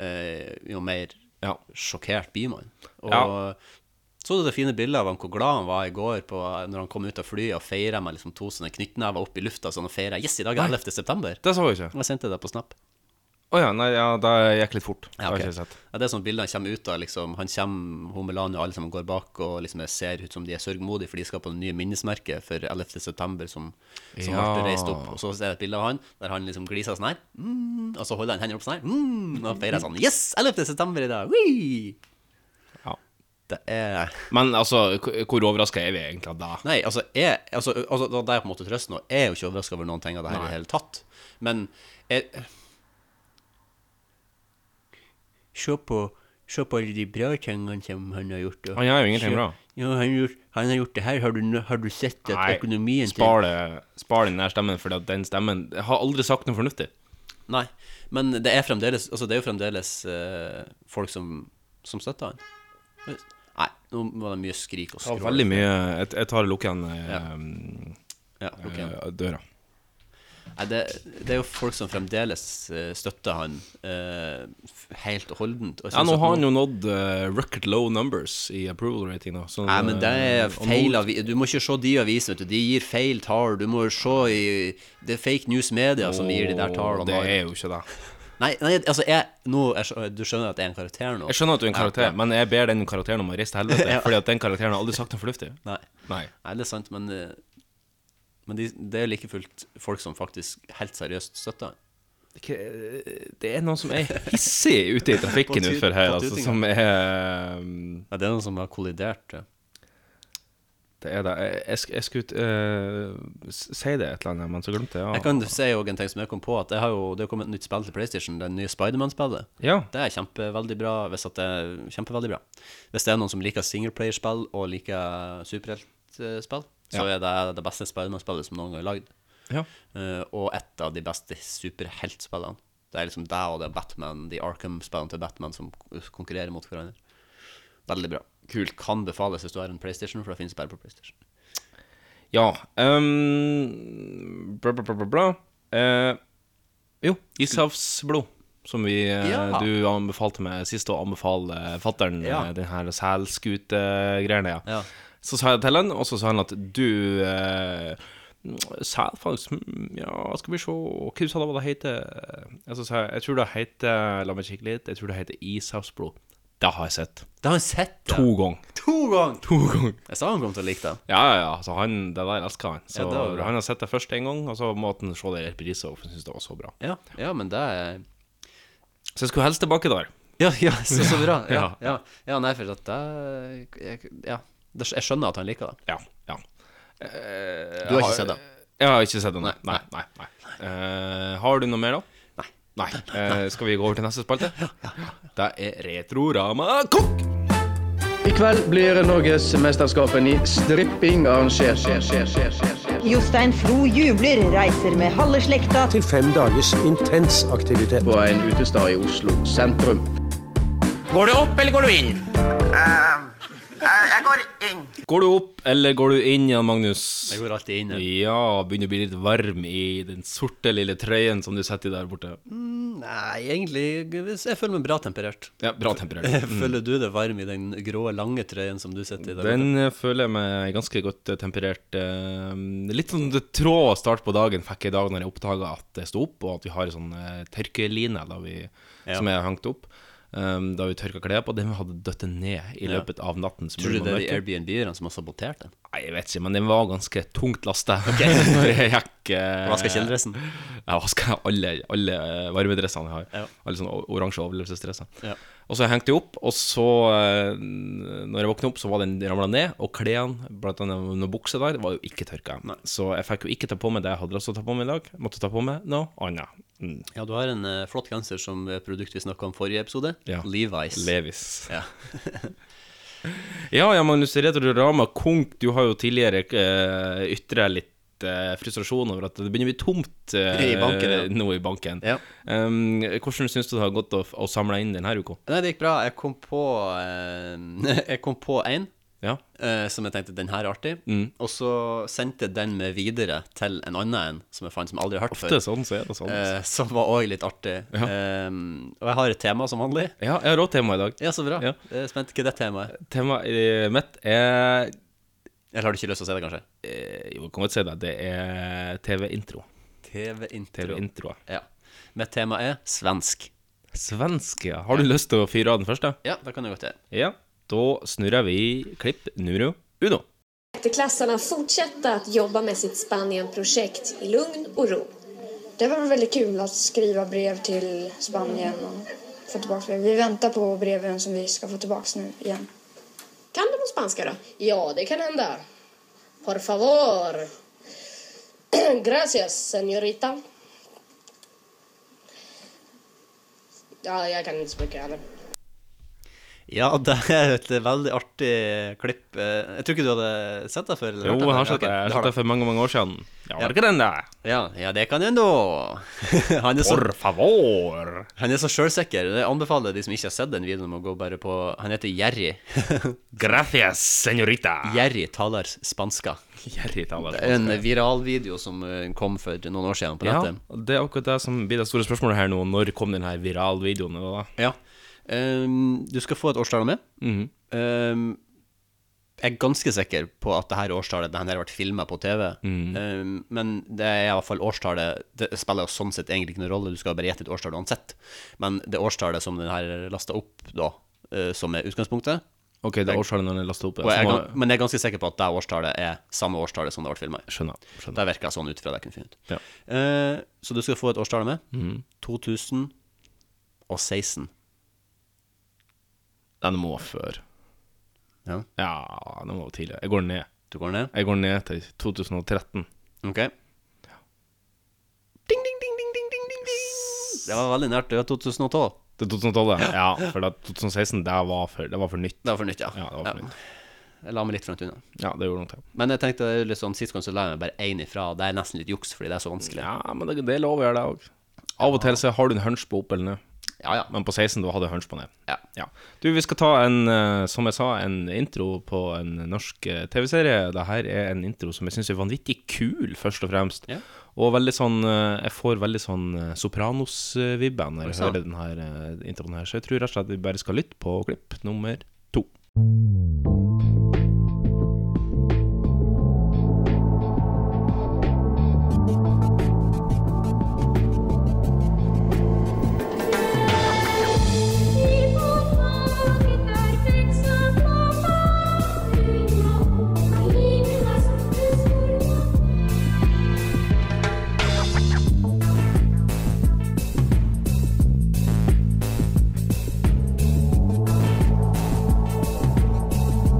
eh, jo mer Ja. sjokkert blir man. Og Ja. så du det fine bildet av han, hvor glad han var i går på, når han kom ut av flyet og feira med liksom, to sånne knyttnever opp i lufta sånn og feira Yes, i dag er 11. september! Det sa jeg ikke. Jeg sendte det på Snap. Å ja, nei, ja, det gikk litt fort. Ja, Det har ok. jeg ikke sett. ja, det er sånn bildet han kommer ut av. Liksom. Han kommer, hun Melania og alle sammen går bak og liksom ser ut som de er sørgmodige, for de skal på det nye minnesmerket for 11. september som, som Ja. ble reist opp. Og så er det et bilde av han der han liksom gliser sånn her, mm, og så holder han hendene opp sånn her, mm, og feirer sånn Yes! 11. september i dag! Whee! Ja. Det er Men altså, k- hvor overraska er vi egentlig av det? Nei, altså, jeg, altså, altså da- da er jeg på en måte trøsten nå. Jeg er jo ikke overraska over noen ting av det her i det hele tatt. Men jeg Se på, se på alle de bra tingene som han har gjort. og- Han gjør jo ingenting se- bra. Jo, han, har gjort, han har gjort det her. Har du, nø- har du sett at økonomien til spar, det, spar den der stemmen, for den stemmen jeg har aldri sagt noe fornuftig. Nei, men det er fremdeles Altså, det er jo fremdeles eh, folk som, som støtter han. Nei, nå var det mye skrik og Det skrål. var veldig mye Jeg, jeg tar og lukker igjen eh, Ja, ok. eh, døra. Nei, det, det er jo folk som fremdeles eh, støtter han eh, f- helt og holdent. Og jeg Ja, Sånn synes nå at har han jo nådd eh, record low numbers i approval rating. Da, så, Nei, men det eh, er og nå- feil avi Du må ikke se de avisene, vet du. De gir feil tall. Du må se i Det er fake news media som gir de der tallene. Det er jo ikke det. Nei, nei, altså, jeg Nå jeg, skjø- Du skjønner at jeg er en karakter nå? Jeg skjønner at du er en karakter, men jeg ber den karakteren om å reise til helvete. Ja. Fordi at den karakteren har aldri sagt noe fornuftig. Nei. Nei. nei, det er sant, men eh, Men de, det er like fullt folk som faktisk helt seriøst støtter han. eh, Det er noen som er hissig ute i På trafikken tu- utfor her, på altså, tutinga. som er um, Ja, det er noen som har kollidert. ja. Det er det. Jeg, jeg, sk- jeg skulle eh, s- si det et eller annet, men så glemte jeg. Ja. Jeg kan si også en ting som jeg kom på, at jeg har jo, det har kommet et nytt spill til PlayStation, det nye Spiderman-spillet. ja. Det er kjempeveldig bra, hvis at det er kjempeveldig bra. Hvis det er noen som liker singleplayerspill og liker superheltspill, så er det det beste Spiderman-spillet som noen gang er lagd. ja. Eh, og et av de beste superheltspillene. Det er liksom det og det er Batman, de Arkham-spillene til Batman som konkurrerer mot hverandre. Veldig bra. Kult. Kan befales hvis du har en PlayStation, for det finnes bare på PlayStation. Ja um, Bra, bra, bra, bra, bra. Eh, Jo, ishavsblod Som vi, eh, Ja. du anbefalte meg sist Å anbefale fatteren Ja. eh, Den her selskute-greiene ja. Ja. Så sa jeg til han, og så sa han at Du uh, Selfangst, mm, ja, skal vi se Hva sa det hva det heter Jeg, sa, jeg, jeg tror det heter, la meg kikke litt Jeg tror det heter ishavsblod Det har jeg sett, Det har han sett! ja. to ganger to ganger! To ganger Jeg sa han kom til å like det. ja, ja, ja. Så han, det der elsker han. Så Ja, det var bra. han har sett det først en gang, og så måtte han se det i reprise, og han syntes det var så bra. Ja, ja men det er Så jeg skulle helst tilbake der. Ja, ja så, så bra. Ja, Ja. ja. ja nei, for at det jeg, Ja. Det- Jeg skjønner at han liker det. Ja. ja. Eh, Du har ikke sett det? Jeg har ikke sett det, nei. nei, nei, nei. Eh, har du noe mer, da? Nei. Nei. Eh, skal vi gå over til neste spalte? Det er Retrorama Kokk! I kveld blir Norgesmesterskapen i stripping arrangert. Jostein Flo jubler, reiser med halve slekta til fem dagers intens aktivitet. på en utestad i Oslo sentrum. Går du opp, eller går du inn igjen, Magnus? Jeg går alltid inn. jeg. Ja, begynner å bli litt varm i den sorte lille trøyen som du setter der borte. Nei, egentlig Jeg føler meg bra temperert. Ja, bra temperert. Føler du det varm i den grå, lange trøyen som du sitter i? der Den eh, føler jeg meg ganske godt eh, temperert. eh, Litt sånn det trå start på dagen fikk jeg i dag når jeg oppdaga at jeg sto opp, og at vi har en sånn eh, tørkeline da vi, som jeg har hengt opp. eh, da vi tørka klær på, den hadde døtt ned i Ja. løpet av natten. så Tror ble du man det er de mørk. Airbnb-erne som har sabotert den? Nei, jeg vet ikke, men den var ganske tungt lasta. Når jeg gikk eh, Vaska kjeledressen? Jeg vaska alle, alle eh, varmedressene jeg har. Ja. Alle sånne o- oransje overlevelsesdresser. Ja. Og så hengte jeg opp, og så eh, Når jeg våkna opp, så var den ramla ned, og klærne, blant annet noen bukser der, var jo ikke tørka. Så jeg fikk jo ikke ta på meg det jeg hadde lyst til å ta på meg i dag. Måtte ta på meg noe annet. Mm. Ja, du har en eh, flott genser som eh, produkt vi snakka om forrige episode. Ja. Levi's. Levis. ja. Ja, ja, Magnus Retorama Konk, du har jo tidligere uh, ytra litt eh, frustrasjon over at det begynner å bli tomt eh, I banken, ja. nå i banken. Ja. Um, hvordan syns du det har gått å, f- å samle inn denne uka? Nei, det gikk bra. Jeg kom på eh, Jeg kom på én Ja. eh, som jeg tenkte den her er artig, og så sendte jeg den med videre til en annen en som jeg fant som jeg aldri har hørt Ofte før. sånn, så er det sånn. eh, som var òg litt artig. Eh, og jeg har et tema som vanlig. Ja, jeg har òg tema i dag. Ja, så bra. Ja. Jeg er spent. Hva er det temaet? Temaet eh, mitt er Eller har du ikke lyst til å si det, kanskje? eh, Jo, kan godt si det. Det er TV-intro. TV-intro. TV-introer. Ja. Mitt tema er svensk. Svensk, ja. Har du lyst til å fyre av den første? Ja, det kan jeg godt gjøre. Ja. Da snurrer vi klipp numero uno. Klassarna fortsätta att jobba med sitt Spanien-projekt i lugn och ro. Det var väldigt kul att skriva brev till Spanien och få tillbaka brev. Vi väntar på breven som vi ska få tillbaka nu igen. Kan du på spanska då? Ja, det kan hända. Por favor. Gracias, señorita. Ja, jag kan inte så mycket heller. Ja, det er et veldig artig klipp. Eh, Jeg tror ikke du hadde sett det før? eller Jo, hørt det jeg har før. sett det. Ja, ok, Jeg har du har sett det for mange mange år siden. Ja, har du ikke den der? Ja, ja, det kan jeg nå. Han er så, Por favor! han er så sjølsikker. Jeg anbefaler de som ikke har sett den videoen, om å gå bare på Han heter Jerry. Gracias, señorita! Jerry taler spanska. Jerry taler Det er en viralvideo som eh, kom for noen år siden på Ja, nettet. det er akkurat det som blir det store spørsmålet her nå. Når kom denne viralvideoen? da? Ja. Ehm, du skal få et årstall med. Ehm, jeg er ganske sikker på at det her årstallet det her har vært filma på TV. Ehm, men det er i hvert fall årstallet Det spiller jo sånn sett egentlig ikke noen rolle, du skal bare gjette et årstall uansett. Men det årstallet som den her lasta opp, da, eh, som er utgangspunktet Ok, det er årstallet når den lastet opp. og ja, jeg, er så gan- Men jeg er ganske sikker på at det årstallet er samme årstallet som det ble filma i. må- Skjønner. skjønner. Det virka sånn ut fra det jeg kunne finne ut. Ja. Mhm. Eh, så du skal få et årstall med. 2016. Den må før. Ja, Ja, den må tidligere. Jeg går ned. du går ned? Jeg går ned til 2013. Ok. Ding, ding, ding, ding, ding, ding, ding, ding. Det var veldig nært. Det var 2012. Til 2012, ja. ja for da, 2016, det var for, det var for nytt. Det var for nytt, ja. Ja, det var for nytt. Jeg la meg litt for langt unna. Ja, det gjorde nok det. Men jeg tenkte det er litt sånn, sist gang så la jeg meg bare én ifra. og Det er nesten litt juks, fordi det er så vanskelig. Ja, men det, det lover jeg deg òg. Av og til så har du en hunch på opp eller ned. Ja, ja. Men på 16 da hadde jeg hunch på ned. Ja. Du, vi skal ta en, eh, som jeg sa, en intro på en norsk eh, TV-serie. Dette er en intro som jeg syns er vanvittig kul, først og fremst. Ja. Og veldig sånn eh, Jeg får veldig sånn eh, Sopranos-vibbe når jeg sant. hører den her eh, introen her, så jeg tror rett og slett vi bare skal lytte på klipp nummer to. Thank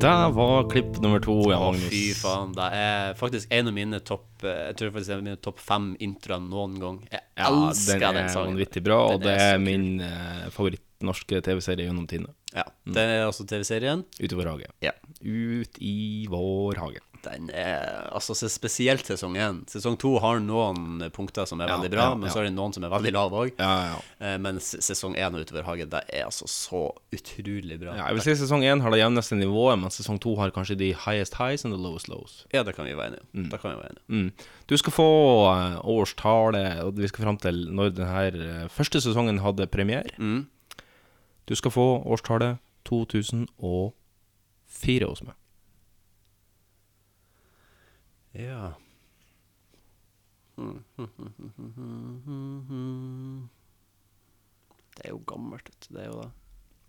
Der var klipp nummer to, ja, Å, Magnus. fy faen. Det er faktisk en av mine topp eh, Jeg tror faktisk det er mine topp fem introer noen gang. Jeg Ja, elsker den, er sangen. vanvittig bra, og Den det så er kul. min eh, favoritt-norske TV-serie gjennom tidene. Ja, Det er også TV-serien. Ute i vår hage. Ja. Ut i vår hage. Den er altså se- spesielt sesong én. Sesong to har noen punkter som er Ja, veldig bra, ja, men ja. så er det noen som er veldig lave òg. Ja, ja. Men s- sesong én og utover Hage, det er altså så utrolig bra. ja jeg vil si sesong én har det jevneste nivået, men sesong to har kanskje de highest highs and the lowest lows. Ja, det kan vi være enige om. Det kan vi være enige om. Mm. Du skal få eh, årstallet, og vi skal fram til når denne første sesongen hadde premiere. Mm. Du skal få årstallet 2004 hos meg. Ja. Det er jo gammelt, vet du. Det er jo da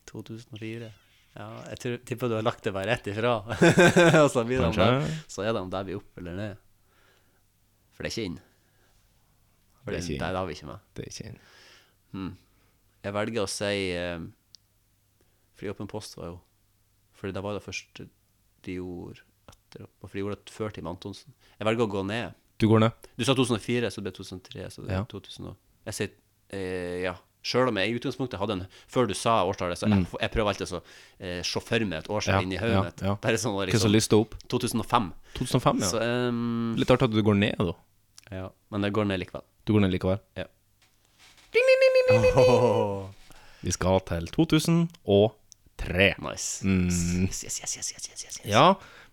2004. Ja, jeg tror, tipper du har lagt det bare rett ifra. og så, blir de Kanskje. der, så er de der vi er opp eller ned. For det er ikke inn. For Det er ikke inn. Det, det har vi ikke med. Det er ikke en Jeg velger å si eh, Friåpen post var jo Fordi det var det første de gjorde etter For de gjorde det før Team Antonsen. Jeg velger å gå ned. Du går ned. Du sa 2004, så det ble 2003. Så det ble Ja. 2000 og, jeg sier eh, ja. Sjøl om jeg i utgangspunktet hadde en Før du sa årstallet, så jeg, jeg prøver alltid å eh, se for meg et årstall Mm. Ja, inni ja, hodet mitt. ja. Bare sånn Hva som liksom, lyste opp? 2005. 2005, ja. Så, ehm, Litt artig at du går ned, da. ja. Men det går ned likevel. Du går ned likevel. Ja. Vi skal til 2003. Nice. Mm. Yes, yes, yes, yes, yes, yes, yes. Ja,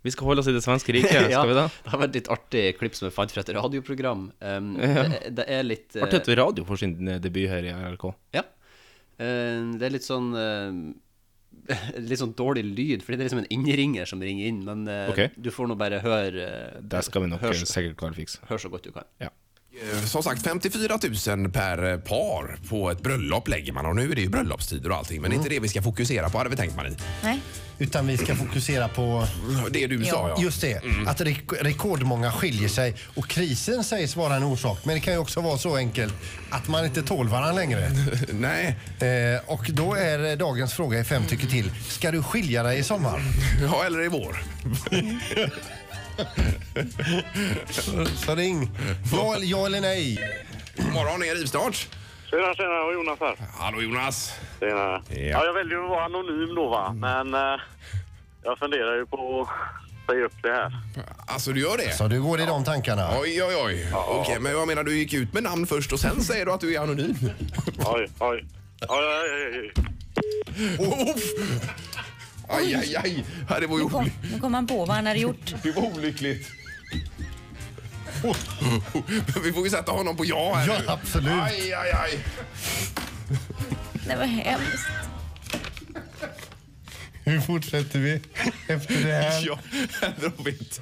vi skal holde oss i det svenske riket, skal vi det? det har vært litt artig klipp som jeg fant fra et radioprogram. Um, det, det er litt eh, Artig at radio får sin eh, debut her i RLK. Ja. Eh, det er litt sånn eh, Litt sånn dårlig lyd, fordi det er liksom en innringer som ringer inn. Men eh, Ok. du får nå bare høre eh, Det skal vi nok hør, så- sikkert klare å fikse. hør så godt du kan. Ja. Eh, Som sagt, 54 000 per eh, par på ett bröllop lägger man. Och nu är det ju bröllopstider och allting. Men det är inte det vi ska fokusera på, hade vi tänkt Marie. Nej. Utan vi ska fokusera på Det du sa, ja. just det, Mm. att rek- rekordmånga skiljer sig och krisen sägs vara en orsak. Men det kan ju också vara så enkelt att man inte tål varandra längre. Nej, Eh, och då är eh, dagens fråga i fem tycker till. Ska du skilja dig i sommar? ja, eller i vår. Så ring. Ja, eller- ja eller nej? God morgon, är rivstart. Tjena, tjena. Jonas här. Hallå Jonas. Tjena. Ja. jag väljer att vara anonym då, va? men eh, jag funderar ju på att säga upp det här. Alltså du gör det? Så du går i de tankarna? Oj, oj, oj. Okej, men jag menar du gick ut med namn först och sen säger du att du är anonym. Oj, oj. Oj, oj, oj, oj. Uff. Aj, aj, aj. Ja, Det var ju oly- Nu kommer man på vad han hade gjort. det var olyckligt. Men Vi får ju sätta honom på ja här Ja, nu. absolut. Aj, aj, aj. Det var hemskt. Hur fortsätter vi efter det här? Ja, Robert.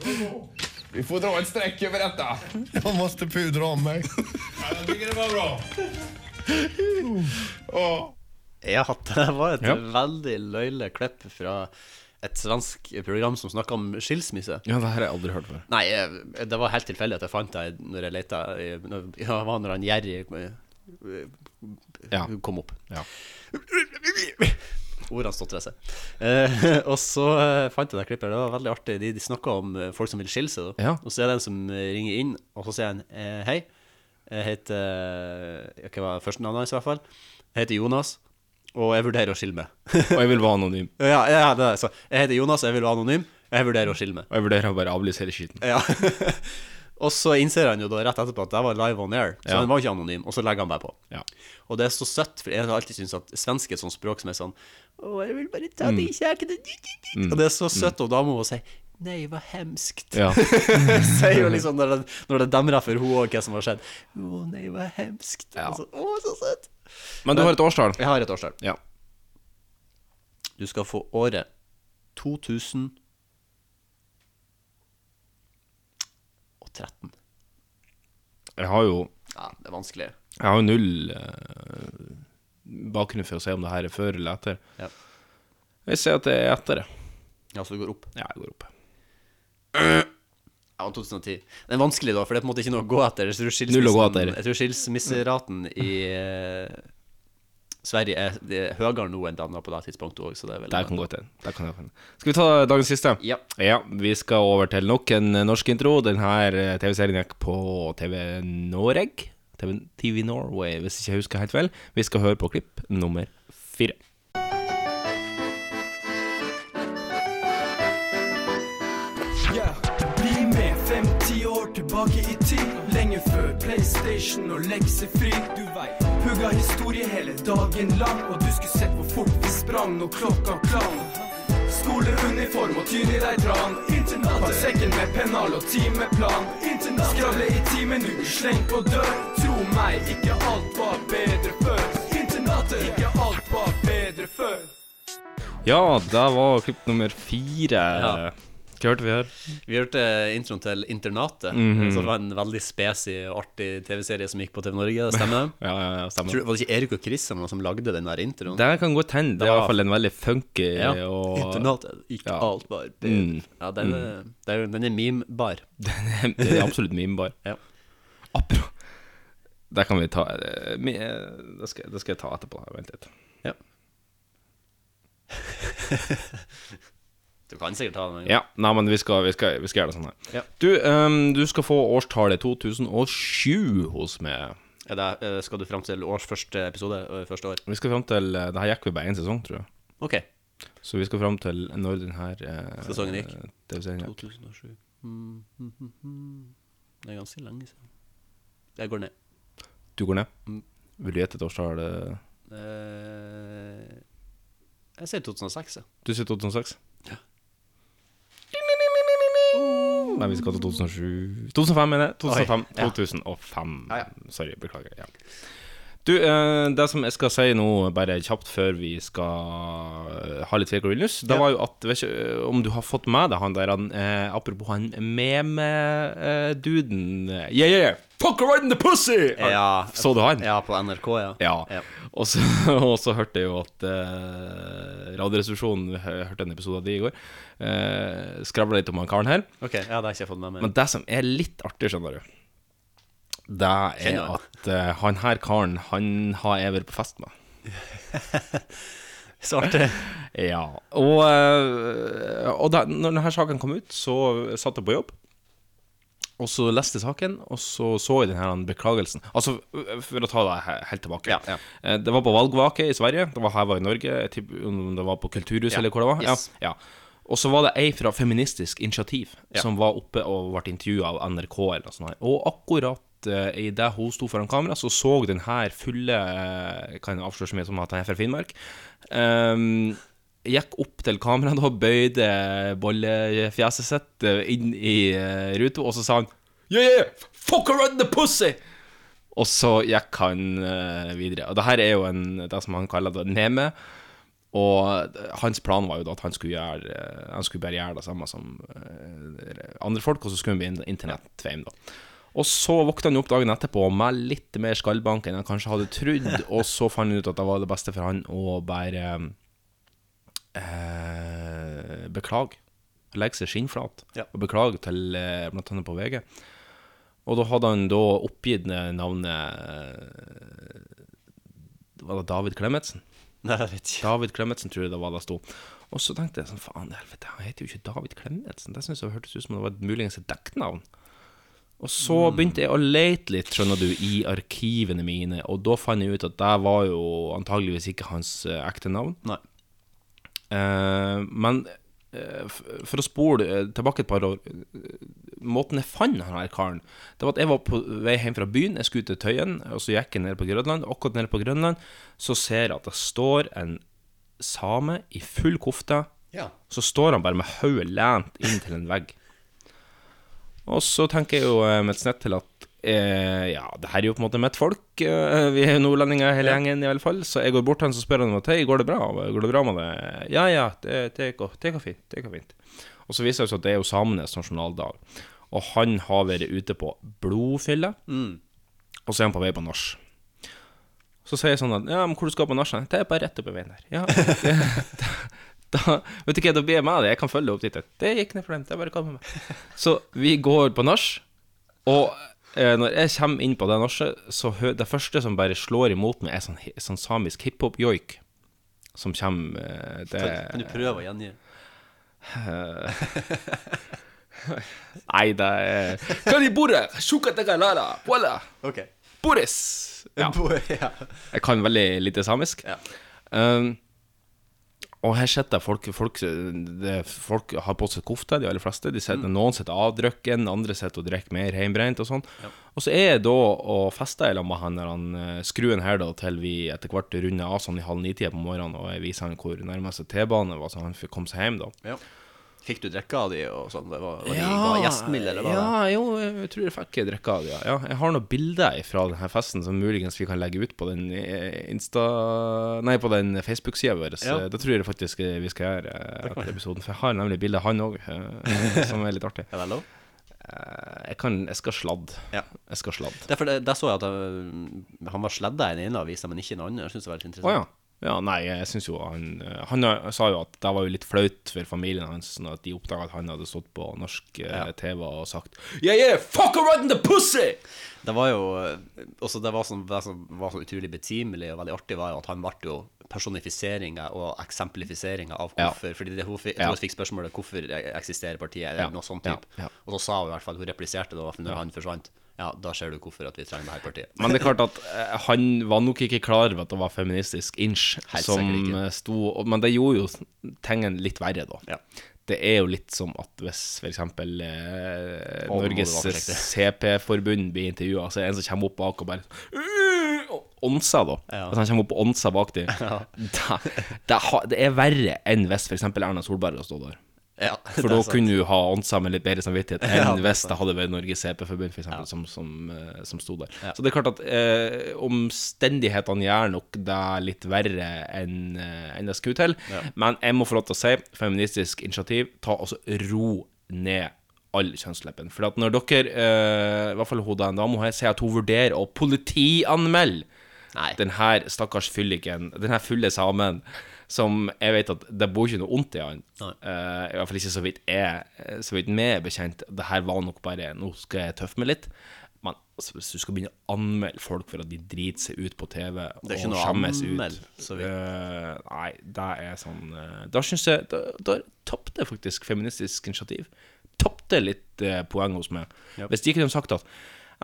Vi får dra ett streck över detta. Jag måste pudra om mig. Jag tycker det var bra. Ja. Ja, det var et Ja. veldig løyelig klipp fra et svensk program som snakka om skilsmisse. ja, det her har jeg aldri hørt før. Nei, eh, det var helt tilfeldig at jeg fant deg når jeg leta. eh, når- Ja, det var når han Jerry eh, Ja. kom opp. Ja. Ordene stotrer seg. Eh, og så eh, fant jeg det klippet. Det var veldig artig. De, de snakka om eh, folk som vil skille seg. Da. Ja. Og så er det en som eh, ringer inn, og så sier han eh, hei. Jeg heter eh, Hva var første navnet hans, i hvert fall? Jeg heter Jonas, og jeg vurderer å skille meg. Og jeg vil være anonym. ja, ja, det er så. Jeg heter Jonas, jeg vil være anonym. Jeg vurderer å skille meg. Og jeg vurderer å bare avlyse hele skiten. Ja. og så innser han jo da rett etterpå at det var live on air, så Ja. han var ikke anonym, og så legger han bare på. Ja. Og det er så søtt, for jeg har alltid syntes at svensk er et sånt språk som er sånn Å, jeg vil bare ta det i kjeken Og det er så søtt, og da må hun si Nei, hva hemskt. Ja. Sier jo liksom når det, når det demrer for hun òg hva som har skjedd. Å nei, hva hemskt. Og Så, å, så søtt. Men du har et årstall. Jeg har et årstall. Ja. Du skal få året 2013. Jeg har jo Ja, det er vanskelig. Jeg har jo null eh, bakgrunn for å se om det her er før eller etter. Ja. Jeg ser at det er etter det. Ja, så det går opp. Ja, jeg går opp. Ja, 2010. Den er vanskelig, da, for det er på en måte ikke noe å gå etter. Jeg tror Null å gå skilsmissen- etter. Jeg tror skilsmisseraten i eh, Sverige er, det er høyere nå enn Danmark på det tidspunktet òg, så det er veldig Der kan godt hende. Der kan det gå hende. Skal vi ta dagens siste? Ja. Vi skal over til nok en eh, norsk intro. Denne TV-serien gikk på TV Noreg. TV, TV Norway, hvis ikke jeg husker helt vel. Vi skal høre på klipp nummer fire. Ja, bli med 5-10 år tilbake i tid Lenge før Playstation og leksefri Du vei, hugga historie hele dagen lang Og du skulle sett hvor fort vi sprang når klokka klang Skoleuniform og tydelig deg dran Internat Pappsekken med pennal og timeplan Internat Skravle i timen, du blir slengt på dør Tro meg, ikke alt var bedre før Internatet Ikke alt var bedre før Ja, det var klipp nummer fire. Ja. Hva hørte vi her? Vi hørte introen til Internatet, Mhm. som var en veldig spesig og artig TV-serie som gikk på TV Norge, det stemmer? ja, ja, ja, stemmer. Tror, du- var det ikke Erik og Christian som lagde den der eh, introen? Det kan godt hende. Det Ja. var i hvert fall en veldig funky ja. og Internatet gikk Ja. alt bare bedre. Mm. Ja, den er, det er, den er memebar. Den er absolutt memebar. ja. Det kan vi ta eh, mi- eh, Det skal, det skal jeg ta etterpå. da. Vent litt. Du kan sikkert ta den. Ja, nei, men vi skal, vi skal, vi skal gjøre det sånn her. Ja. Du, ehm, du skal få årstallet 2007 hos meg. Er det, eh, skal du fram til års første episode? eh, Første år? Vi skal fram til eh, Det her gikk vi bare én sesong, tror jeg. Ok. Så vi skal fram til når den her eh, Sesongen gikk. TV-serien gikk. 2007. Mm, mm, mm, mm. Det er ganske lenge siden. Jeg går ned. Du går Mm. ned. Vil du gjette et årstall? eh? Eh, jeg sier 2006, ja. Du sier 2006? Nei, vi skal til 2007 2005, mener jeg. 2005. Oi, ja. 2005. Sorry, beklager. Ja. Du, eh, det som jeg skal si nå, bare kjapt før vi skal eh, ha litt Virkorilnus, det var jo at Vet ikke eh, om du har fått med deg han der han, eh, Apropos han eh, meme-duden Yeah, yeah, yeah! Fuck her right in the pussy! Ja. Så du han? Ja, på NRK, ja. Ja. Og, så, og så hørte jeg jo at eh, Radioresepsjonen hø- hørte en episode av de i går. Eh, Skravla litt om han karen her. Ok, ja, det har ikke jeg fått med meg. Men det som er litt artig, skjønner du, det er Skjønner. at eh, han her karen, han har jeg vært på fest med. Så artig. ja. Og, eh, og da når denne saken kom ut, så satt jeg på jobb. Og så leste jeg saken, og så så jeg denne beklagelsen. Altså, for å ta det he- helt tilbake. Eh, Det var på valgvake i Sverige, det var heva i Norge, jeg tipper om det var på Kulturhuset Ja. eller hvor det var. Yes. Ja. ja. Og så var det ei fra Feministisk initiativ Ja. som var oppe og ble intervjua av NRK. eller noe sånt her. Og akkurat uh, idet hun sto foran kamera, så så den her fulle eh, Kan jeg avsløre så mye som at han er fra Finnmark? ehm, gikk opp til kameraet og bøyde bollefjeset sitt eh, inn i eh, ruta, og så sa han Yeah, yeah, fuck around the pussy! Og så gikk han eh, videre. Og det her er jo en, det som han kaller det, neme. Og hans plan var jo da at han skulle, gjøre, eh, han skulle bare gjøre det samme som eh, andre folk, og så skulle han bli en internettfame, da. Og så våkna han opp dagen etterpå med litt mer skallbank enn han kanskje hadde trodd, og så fant han ut at det var det beste for han å bare eh, beklage. Legge seg skinnflat Ja. og beklage til eh, blant annet på VG. Og da hadde han da oppgitt navnet eh, Var det David Klemetsen? Nei, jeg vet ikke. David Klemetsen tror jeg det var det sto. Og så tenkte jeg sånn, faen i helvete, han heter jo ikke David Klemetsen. Det synes jeg hørtes ut som det var et muligens et dekknavn. Og så begynte jeg å lete litt, skjønner du, i arkivene mine, og da fant jeg ut at det var jo antageligvis ikke hans eh, ekte navn. Nei. Eh, men eh, f- for å spole eh, tilbake et par år eh, Måten jeg fant han her karen Det var at jeg var på vei hjem fra byen Jeg skulle til Tøyen Og så gikk jeg ned på Grønland Og akkurat nede på Grønland Så ser jeg at det står en same i full kofte Ja. Så står han bare med høyet lent inn til en vegg og så tenker jeg jo eh, med et snett til at eh, ja, det her er jo på en måte mitt folk. Eh, vi er jo nordlendinger hele gjengen, i alle fall. Så jeg går bort til han og spør han om at hei, går det bra? Går det bra med det? Ja, ja, det, det, går, det går fint. Det går fint. Og så viser det seg at det er jo samenes nasjonaldag. Og han har vært ute på blodfylle, Mm. og så er han på vei på nach. Så sier jeg sånn at Ja, men hvor du skal på nachspiel? Det er bare rett oppi veien der. Ja, det, da, vet du hva, da blir jeg med deg. Jeg kan følge deg opp dit. Det gikk ned for dem. Det er bare å komme med. Så vi går på nach, og eh, når jeg kommer inn på det norset, så hø det første som bare slår imot meg, er sånn, hi- sånn samisk hiphop-joik. Som kommer eh, det, Kan, kan du prøve å gjengi? Nei, det er Kan i bordet! Shukatekalala! Voilà! Ok. Boris! Ja. Bo- ja. Jeg kan veldig lite samisk. Um, og her sitter folk, folk det, Folk har på seg kofte, de aller fleste. De sitter, Noen sitter avdrukken, andre sitter og drikker mer hjemmebrent og sånn. Og så er jeg da og fester i lag med han, der han eh, skruen her da til vi etter hvert runder av sånn i halv ni-tida på morgenen, og jeg viser han hvor nærmeste T-bane var, så han fikk komme seg hjem, da. Ja. Fikk du drikke av de og sånn? Det Var, var, de, var gjestmilde, eller var ja, det? jo, jeg tror jeg fikk drikke av det. Ja. Ja, jeg har noen bilder fra denne festen som muligens vi kan legge ut på den eh, Insta... Nei, på den Facebook-sida vår. Ja. Eh, Det tror jeg faktisk eh, vi skal gjøre eh, Det kan etter vi. episoden. For jeg har nemlig bilde av han òg, som er litt artig. Er det lov? Jeg, kan, jeg skal sladde. Jeg skal sladde. Derfor det, der så jeg at eh, han var sledda i den ene avisa, men ikke i den andre. Jeg synes det var litt Å ja. interessant. ja. Nei, jeg syns jo han eh, Han har- sa jo at det var jo litt flaut for familien hans når de oppdaga at han hadde stått på norsk eh, TV og sagt Yeah, yeah, fuck her right in the pussy! Det var jo eh, også det, var sånn, det som var så utrolig betimelig og veldig artig, var jo at han ble jo personifiseringa og eksemplifiseringa av Ja. hvorfor Fordi det, hun Ja. fikk, jeg tror hun fikk spørsmålet hvorfor eksisterer partiet, eller Ja. noe sånt Ja. type. Ja. Og så sa hun i hvert fall, hun repliserte det, og når Ja. han forsvant, ja, da ser du hvorfor at vi trenger det her partiet. Men det er klart at eh, han var nok ikke klar over at det var feministisk inch Helt som sikkert ikke. eh, sto og- Men det gjorde jo tingene litt verre, da. Det er jo litt som at hvis f.eks. Eh, Å, nå må du Norges være forsiktig. CP-forbund blir intervjua, så er det en som kommer opp bak og bare Onsa, da. Ja. Hvis han kommer opp og onsa bak dem. Da, det, har- det er verre enn hvis f.eks. Erna Solberg hadde stått der. Ja, For det er da sant. kunne du ha åndsa med litt bedre samvittighet enn Ja, det er hvis sant. det hadde vært Norges CP-forbund for eksempel, som, som, eh, som sto der. Så det er klart at eh, omstendighetene gjør nok det litt verre enn eh, enn det skulle til. Ja. Men jeg må få lov til å si, feministisk initiativ, ta altså ro ned all kjønnsleppen. For at når dere, eh, i hvert fall hun der, da må jeg si at hun vurderer å politianmelde den her stakkars fylliken, den her fulle samen, som jeg vet at det bor ikke noe ondt i han. Eh, I hvert fall ikke så vidt jeg eh, Så vidt vi er bekjent. Det her var nok bare Nå skal jeg tøffe meg litt. Men altså, hvis du skal begynne å anmelde folk for at de driter seg ut på TV Det er ikke og noe å skjemmes anmelde, ut så vidt. Eh, Nei, det er sånn eh, Da syns jeg Da, da tapte faktisk Feministisk initiativ. Tapte litt eh, poeng hos meg. Japp. Hvis de ikke hadde sagt at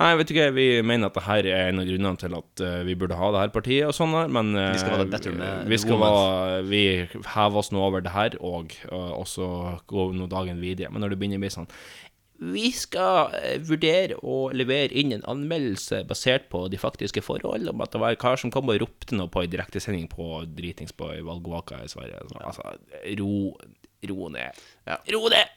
Nei, vet du ikke, vi mener at det her er en av grunnene til at eh, vi burde ha det her partiet og sånn her, men eh, Vi skal være better med vi, skal women. være, vi hever oss nå over det her, og, eh, og så går nå dagen videre. Men når det begynner å bli sånn Vi skal eh, vurdere å levere inn en anmeldelse basert på de faktiske forhold, om at det var en kar som kom og ropte noe på en direktesending på dritings på valgvaka i Sverige. Så, Altså, ro, ro ned. Ro ned!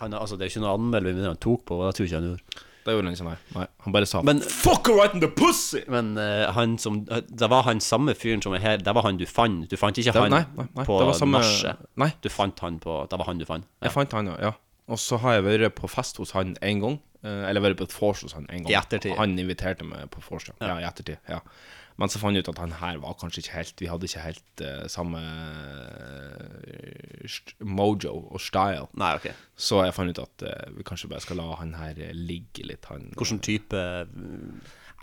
Han, altså, det er jo ikke noe anmeldelse, men han tok på, og det tror jeg ikke han gjorde. Det gjorde han ikke, nei. nei. Han bare sa Men, Fuck her right in the pussy! Men eh, han som Det var han samme fyren som er her. Det var han du fant. Du fant ikke Det- han nei, nei, nei, på det var samme- nachet. Du fant han på Det var han du fant. Jeg fant han, ja. ja. Og så har jeg vært på fest hos han én gang. eh, Eller vært på et vors hos han én gang. I ettertid. Han inviterte meg på vors, ja. ja. I ettertid. ja Men så fant jeg ut at han her var kanskje ikke helt Vi hadde ikke helt eh, samme eh, st- mojo og style. Nei, ok Så jeg fant ut at eh, vi kanskje bare skal la han her eh, ligge litt. Han, Hvilken type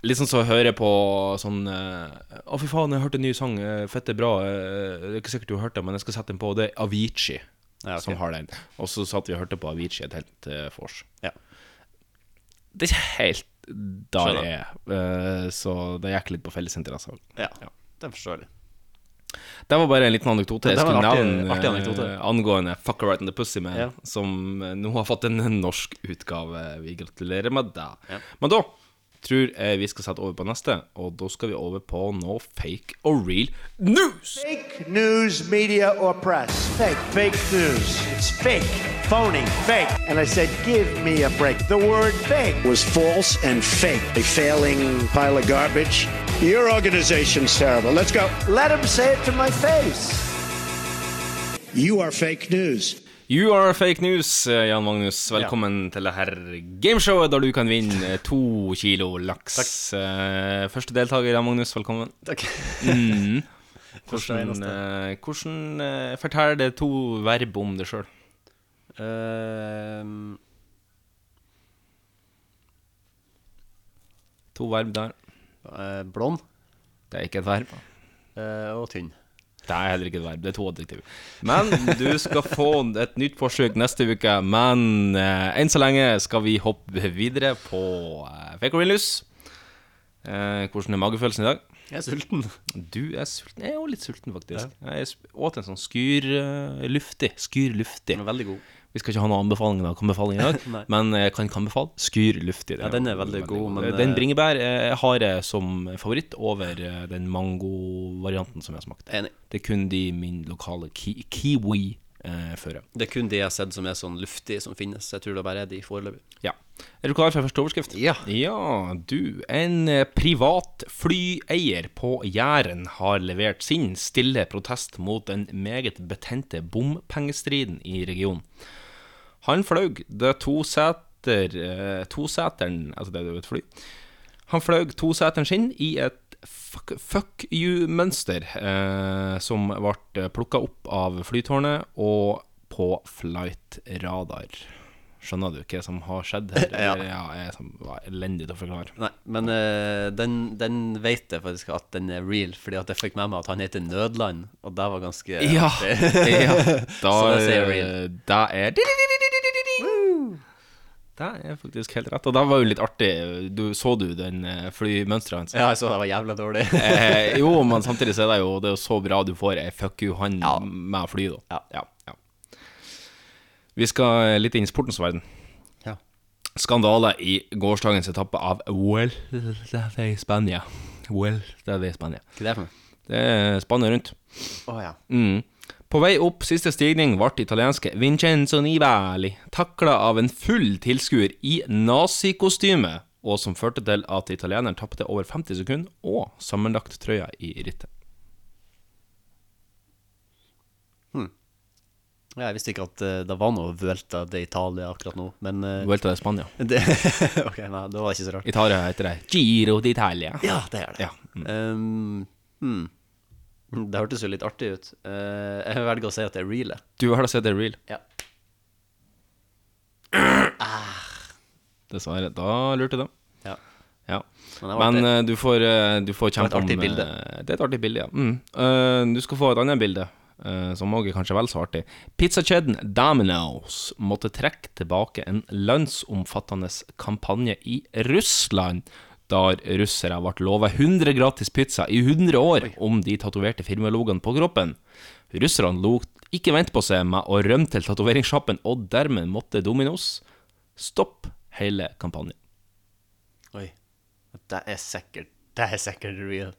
Litt sånn så hører jeg på sånn eh, Å, fy faen, jeg hørte en ny sang. eh, Fette bra. eh, Det er ikke sikkert du har hørt den, men jeg skal sette den på. og Det er Avicii som har den. Og så satt vi og hørte på Avicii et helt uh, vors. Det er ikke helt der Skjønner. jeg er, eh, så det gikk litt på fellesinteresser. Ja, den forstår jeg. Det var bare en liten anekdote. Jeg Det var en skulle artig- nevne artig eh, anekdote. angående Fuck Right in the Pussy Man, Ja. som eh, nå har fått en norsk utgave. Vi gratulerer med det. Men da tror jeg vi skal sette over på neste, og da skal vi over på noe fake og real news. Fake news, media, or press. Fake. Fake news. It's fake. Phony. Fake. And I said, give me a break. The word fake was false and fake. A failing pile of garbage. Your organization's terrible. Let's go. Let him say it to my face. You are fake news. You are fake news, eh, Jan Magnus. Velkommen til det her gameshowet der du kan vinne eh, to kilo laks. Eh, Første deltaker, Jan Magnus, velkommen. Takk. Mm. Første og Hvordan, eh, hvordan eh, Fortell det to verb om deg sjøl. Eh, Uh, To verb der. eh, blond. eh, Det er ikke et verb. og tynn. Det er heller ikke et verb. Det er to adjektiv. Men du skal få et nytt forsøk neste uke. Men eh, enn så lenge skal vi hoppe videre på eh, Fake or real news. Eh, hvordan er magefølelsen i dag? Jeg er sulten. Du er sulten. Jeg er også litt sulten, faktisk. Jeg er sp- åt en sånn skyr eh, luftig. Skyr luftig. veldig god. Vi skal ikke ha noen anbefaling i dag, anbefaling i Nei. dag men jeg kan ikke anbefale skyr luftig. Ja, den er veldig god, men, Den eh, bringebær eh, har jeg som favoritt over eh, den mangovarianten som jeg har smakt. Det er kun de min lokale ki kiwi eh, fører. Det er kun de jeg har sett som er sånn luftige, som finnes. Jeg tror det bare er de foreløpig. Ja. Er du klar for første overskrift? Ja. ja du, en eh, privat flyeier på Jæren har levert sin stille protest mot den meget betente bompengestriden i regionen. Han fløy det toseter, eh, toseteren, altså det er jo et fly, han fløy toseteren sin i et fuck, fuck you-mønster eh, som ble plukka opp av flytårnet og på flightradar. Skjønner du hva som har skjedd her? Ja. Eller, ja jeg, som var elendig til å forklare. Nei, men eh, den, den vet jeg faktisk at den er real, fordi at jeg fikk med meg at han heter Nødland, og det var ganske Ja, artig. ja. Da, eh, Så det sier real. da er Det er faktisk helt rett. Og det var jo litt artig. Du, så du den eh, flymønsteret hans? Ja, jeg så det var jævla dårlig. eh, jo, men samtidig så er det jo Det er jo så bra du får ei fuck you-hand med fly, da. Ja. ja. Vi skal litt inn i sportens verden. Ja. Skandale i gårsdagens etappe av Well That Is Spania. Well That Is Spania. Hva er det for noe? Det er Spania rundt. Å, ja. Mm. På vei opp siste stigning ble italienske Vincenzo Nivali takla av en full tilskuer i nazikostyme, og som førte til at italieneren tapte over 50 sekunder og sammenlagt trøya i rittet. Ja, Jeg visste ikke at eh, det var noe Vuelta de Italia akkurat nå, men eh, Vuelta de Spania. Det, ok, nei, det var ikke så rart. Italia heter det Giro d'Italia. Ja, det er det. Ja. Um, hmm. Det hørtes jo litt artig ut. Eh, jeg velger å si at det er real. jeg. Du har da sett det real? Ja. Dessverre. Da lurte de. Ja. Ja. Men det var Men artig. eh, du får, eh, du får Det var et kjempe om artig eh, bilde. Det er et artig bilde, ja. Mm. Eh, du skal få et annet bilde, eh, som òg er kanskje vel så artig. Pizzakjeden Domino's måtte trekke tilbake en landsomfattende kampanje i Russland, der russere ble lovet 100 gratis pizza i 100 år om de tatoverte firmalogoen på kroppen. Russerne lot ikke vente på seg med å rømme til tatoveringssjappen, og dermed måtte Domino's stoppe hele kampanjen. Oi. Det er sikkert Det er sikkert real.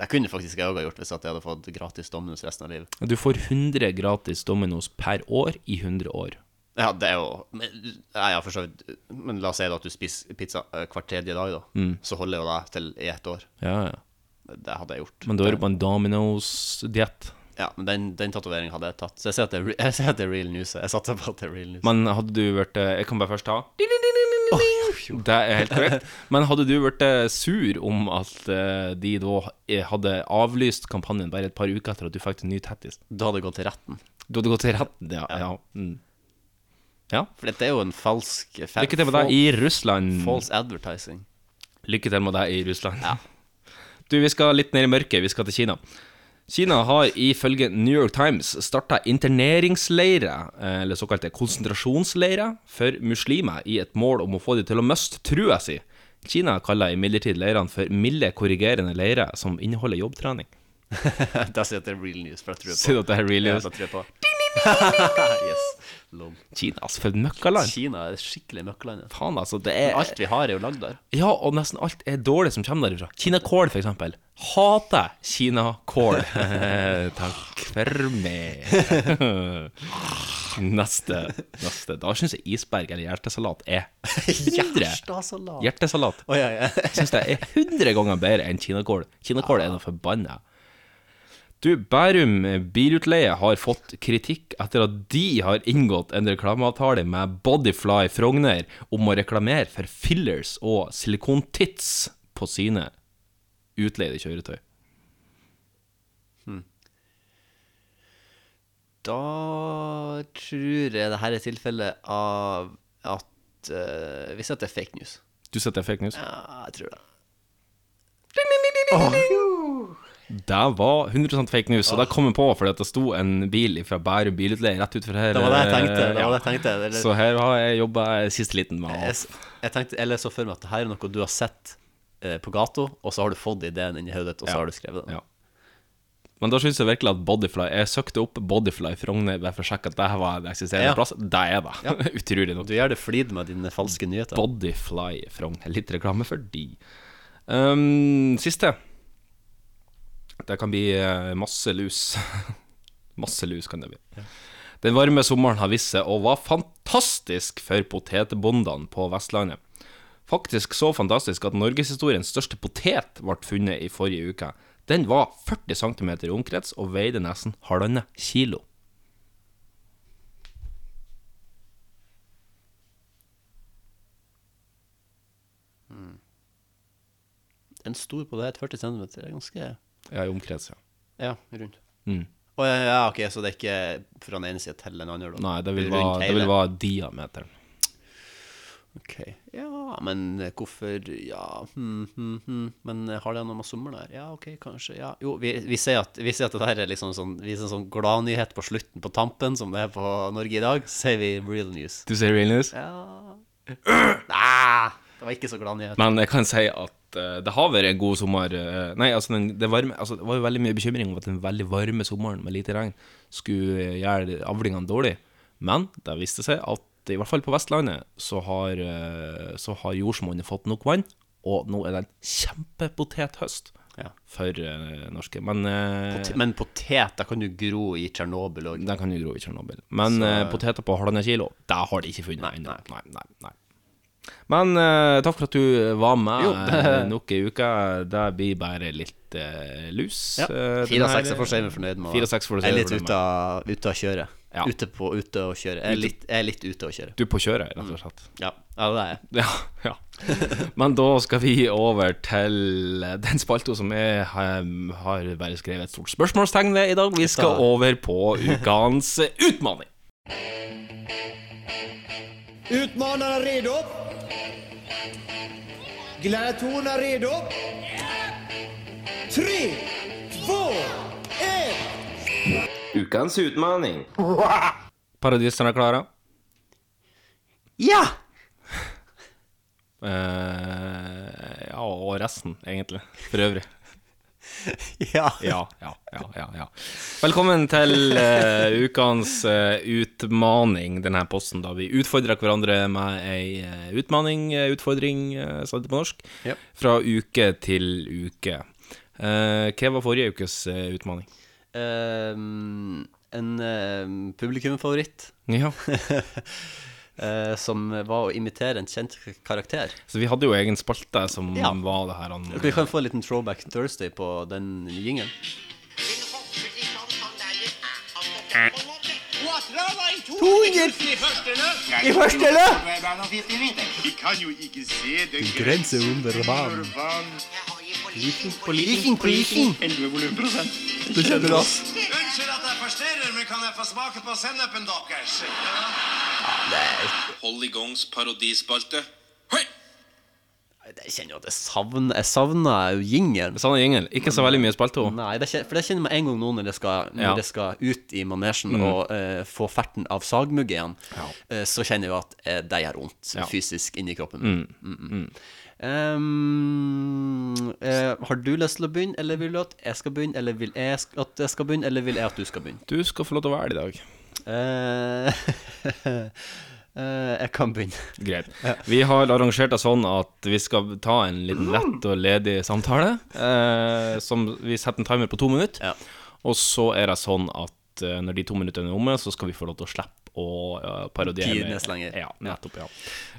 Det kunne faktisk jeg òg ha gjort hvis at jeg hadde fått gratis Dominus resten av livet. Du får 100 gratis Dominos per år i 100 år. Ja, det er jo men, Nei, ja, for så vidt. Men la oss si da at du spiser pizza eh, hver tredje dag, da. Mm. Så holder jo det til i ett år. Ja, ja. Det hadde jeg gjort. Men da er du på en Dominos-diett. Ja, men den, den tatoveringen hadde jeg tatt. Så jeg sier at det er, re- jeg sier at det er real news. Jeg satser på at det er real news. Men hadde du vært eh, Jeg kan bare først ta Det er helt korrekt. Men hadde du vært eh, sur om at eh, de da eh, hadde avlyst kampanjen bare et par uker etter at du fikk en ny tattis? Da hadde jeg gått til retten. Du hadde gått til retten, ja. ja. Mm. ja. For dette er jo en falsk fa- Lykke til med deg i fal- Russland. False advertising. Lykke til med deg i Russland. Du, vi skal litt ned i mørket. Vi skal til Kina. Kina har ifølge New York Times starta interneringsleirer, eh, eller såkalte konsentrasjonsleirer, for muslimer i et mål om å få dem til å miste trua si. Kina kaller imidlertid leirene for milde, korrigerende leirer som inneholder jobbtrening. da sier jeg at det er real news, for jeg tror jeg på Sier du at det er real news? Ja, da tror jeg på. yes. Lol. Kina, altså, for et møkkaland! Kina er skikkelig møkkaland. ja. Faen, altså, det er Alt vi har, er jo lagd der. Ja, og nesten alt er dårlig som kommer derifra. Kinakål, for eksempel. Hater kinakål. Takk for meg. neste. neste. Da syns jeg isberg eller hjertesalat er bedre. Hjertesalat. Hjertesalat. Å, ja, ja. Jeg syns det er 100 ganger bedre enn kinakål. Kinakål er noe forbanna. Du, Bærum bilutleie har fått kritikk etter at de har inngått en reklameavtale med Bodyfly Frogner om å reklamere for fillers og silikontits på sine utleide kjøretøy. Da tror jeg det her er tilfellet av at eh, Vi sier at det er fake news. Du sier at det er fake news? Ja, jeg tror det. Det var 100 fake news, og det kom jeg på fordi at det sto en bil fra Bærum bilutleie rett utfor her. Det var det jeg eh, tenkte. Det ja. var det jeg tenkte. Eller- Så her har jeg jobba siste liten med Jeg, å jeg tenkte, eller så for meg at det her er noe du har sett eh, på gata, og så har du fått ideen inn i hodet ditt, og så Ja. har du skrevet den. Men da syns jeg virkelig at Bodyfly Jeg søkte opp Bodyfly Frogner bare for å sjekke at det her var en eksisterende Ja. plass. Det er det. Utrolig nok. Du gjør det flid med dine falske nyheter. Bodyfly Frogner. Litt reklame for de. Um, siste. Det kan bli eh, masse lus. masse lus kan det bli. Den varme sommeren har vist seg og var fantastisk for potetbondene på Vestlandet. Faktisk så fantastisk at norgeshistoriens største potet ble funnet i forrige uke. Den var 40 cm i omkrets og veide nesten halvannet kilo. En stor på det her, 40 cm, det er ganske Ja, i omkrets, ja. Ja, rundt. Mm. Å, ja, ja, ok, så det er ikke fra den ene sida til den andre? da. Nei, det vil Rundt være, det hele. vil være diameteren. Ok, ja, men hvorfor Ja, hmm, hmm, hmm. men har det noe med sommeren der? Ja, ok, kanskje, ja. Jo, vi, vi, ser, at, vi ser at det der er liksom sånn Vi ser en sånn gladnyhet på slutten, på tampen, som det er på Norge i dag. Så sier vi real news. Du sier real news? Ja. Nei, det var ikke så gladnyhet. Men jeg kan si at eh, det har vært en god sommer. eh, nei, altså, den, det, varme, altså, det var jo veldig mye bekymring om at den veldig varme sommeren med lite regn skulle eh, gjøre avlingene dårlig. Men det viste seg at i hvert fall på Vestlandet så har, eh, så har jordsmonnet fått nok vann, og nå er det en kjempepotethøst for eh, norske. Men, eh, Pote- men potet, da kan du gro i Tsjernobyl òg. Den kan du gro i Tsjernobyl. Men Så- eh, poteter på halvannen kilo, det har de ikke funnet ennå. Nei, nei, nei. Men eh, takk for at du var med Jo. eh, nok ei uke. Det blir bare litt eh, lus. Ja. eh, Fire den av her- seks er for seg med fornøyd med. Fire av seks får du Jeg si er deg litt fornøyd ute av, ute av kjøret. Ja. Ute på ute og kjøre. Jeg er Ute- litt, jeg er litt ute og kjøre. Du er på kjøret, rett og Mm. slett. Ja, ja det er jeg. Ja, ja. Men da skal vi over til eh, den spalta som jeg eh, har bare skrevet et stort spørsmålstegn ved i dag. Vi skal over på ukens utfordring. Utmanarna redo? Gladiatorerna redo? Tre, två, ett! Ukens utfordring. Paradisene er klare. Ja! Eh, ja, og resten, egentlig. For øvrig. ja. Ja, ja, ja, ja, Velkommen til eh, ukens eh, utmaning, denne posten, da vi utfordrer hverandre med ei eh, utmaning, eh, utfordring, uh, sa det på norsk, Ja. fra uke til uke. Eh, hva var forrige ukes eh, utmaning? Ehm, en ehm, publikumfavoritt. Ja. Eh, som var å imitere en kjent k- karakter. Så vi hadde jo egen spalte som Ja. var det her han Vi kan få en liten throwback Thursday på den jingen. Eh. Toget! I hørstelle! Vi kan jo ikke se det Grense under vann. Briefing, briefing! 11,7%. Du kjenner oss. Unnskyld at jeg forstyrrer, men kan jeg få smake på sennepen deres? Hold i gangs parodispalte. Jeg kjenner jo at jeg savner Jeg savner jo jingelen. Savner jingelen. Ikke så veldig mye spilte hun. Nei, det kjen- for det kjenner jeg med en gang nå når det skal, når Ja. det skal ut i manesjen Mm. og eh, få ferten av sagmugg igjen, eh, så kjenner jeg jo at eh, det gjør vondt Ja. fysisk inni kroppen. Mm. Ehm, eh, har du lyst til å begynne, eller vil du at jeg skal begynne, eller vil jeg sk- at jeg skal begynne, eller vil jeg at du skal begynne? Eh, Du skal få lov til å være det i dag. jeg kan begynne. Greit. Vi har arrangert det sånn at vi skal ta en liten lett og ledig samtale. Eh, som vi setter en timer på to minutter. Og så er det sånn at eh, når de to minuttene er omme, så skal vi få lov til å slippe å eh, parodiere. Tidenes lenger. Ja, nettopp, ja.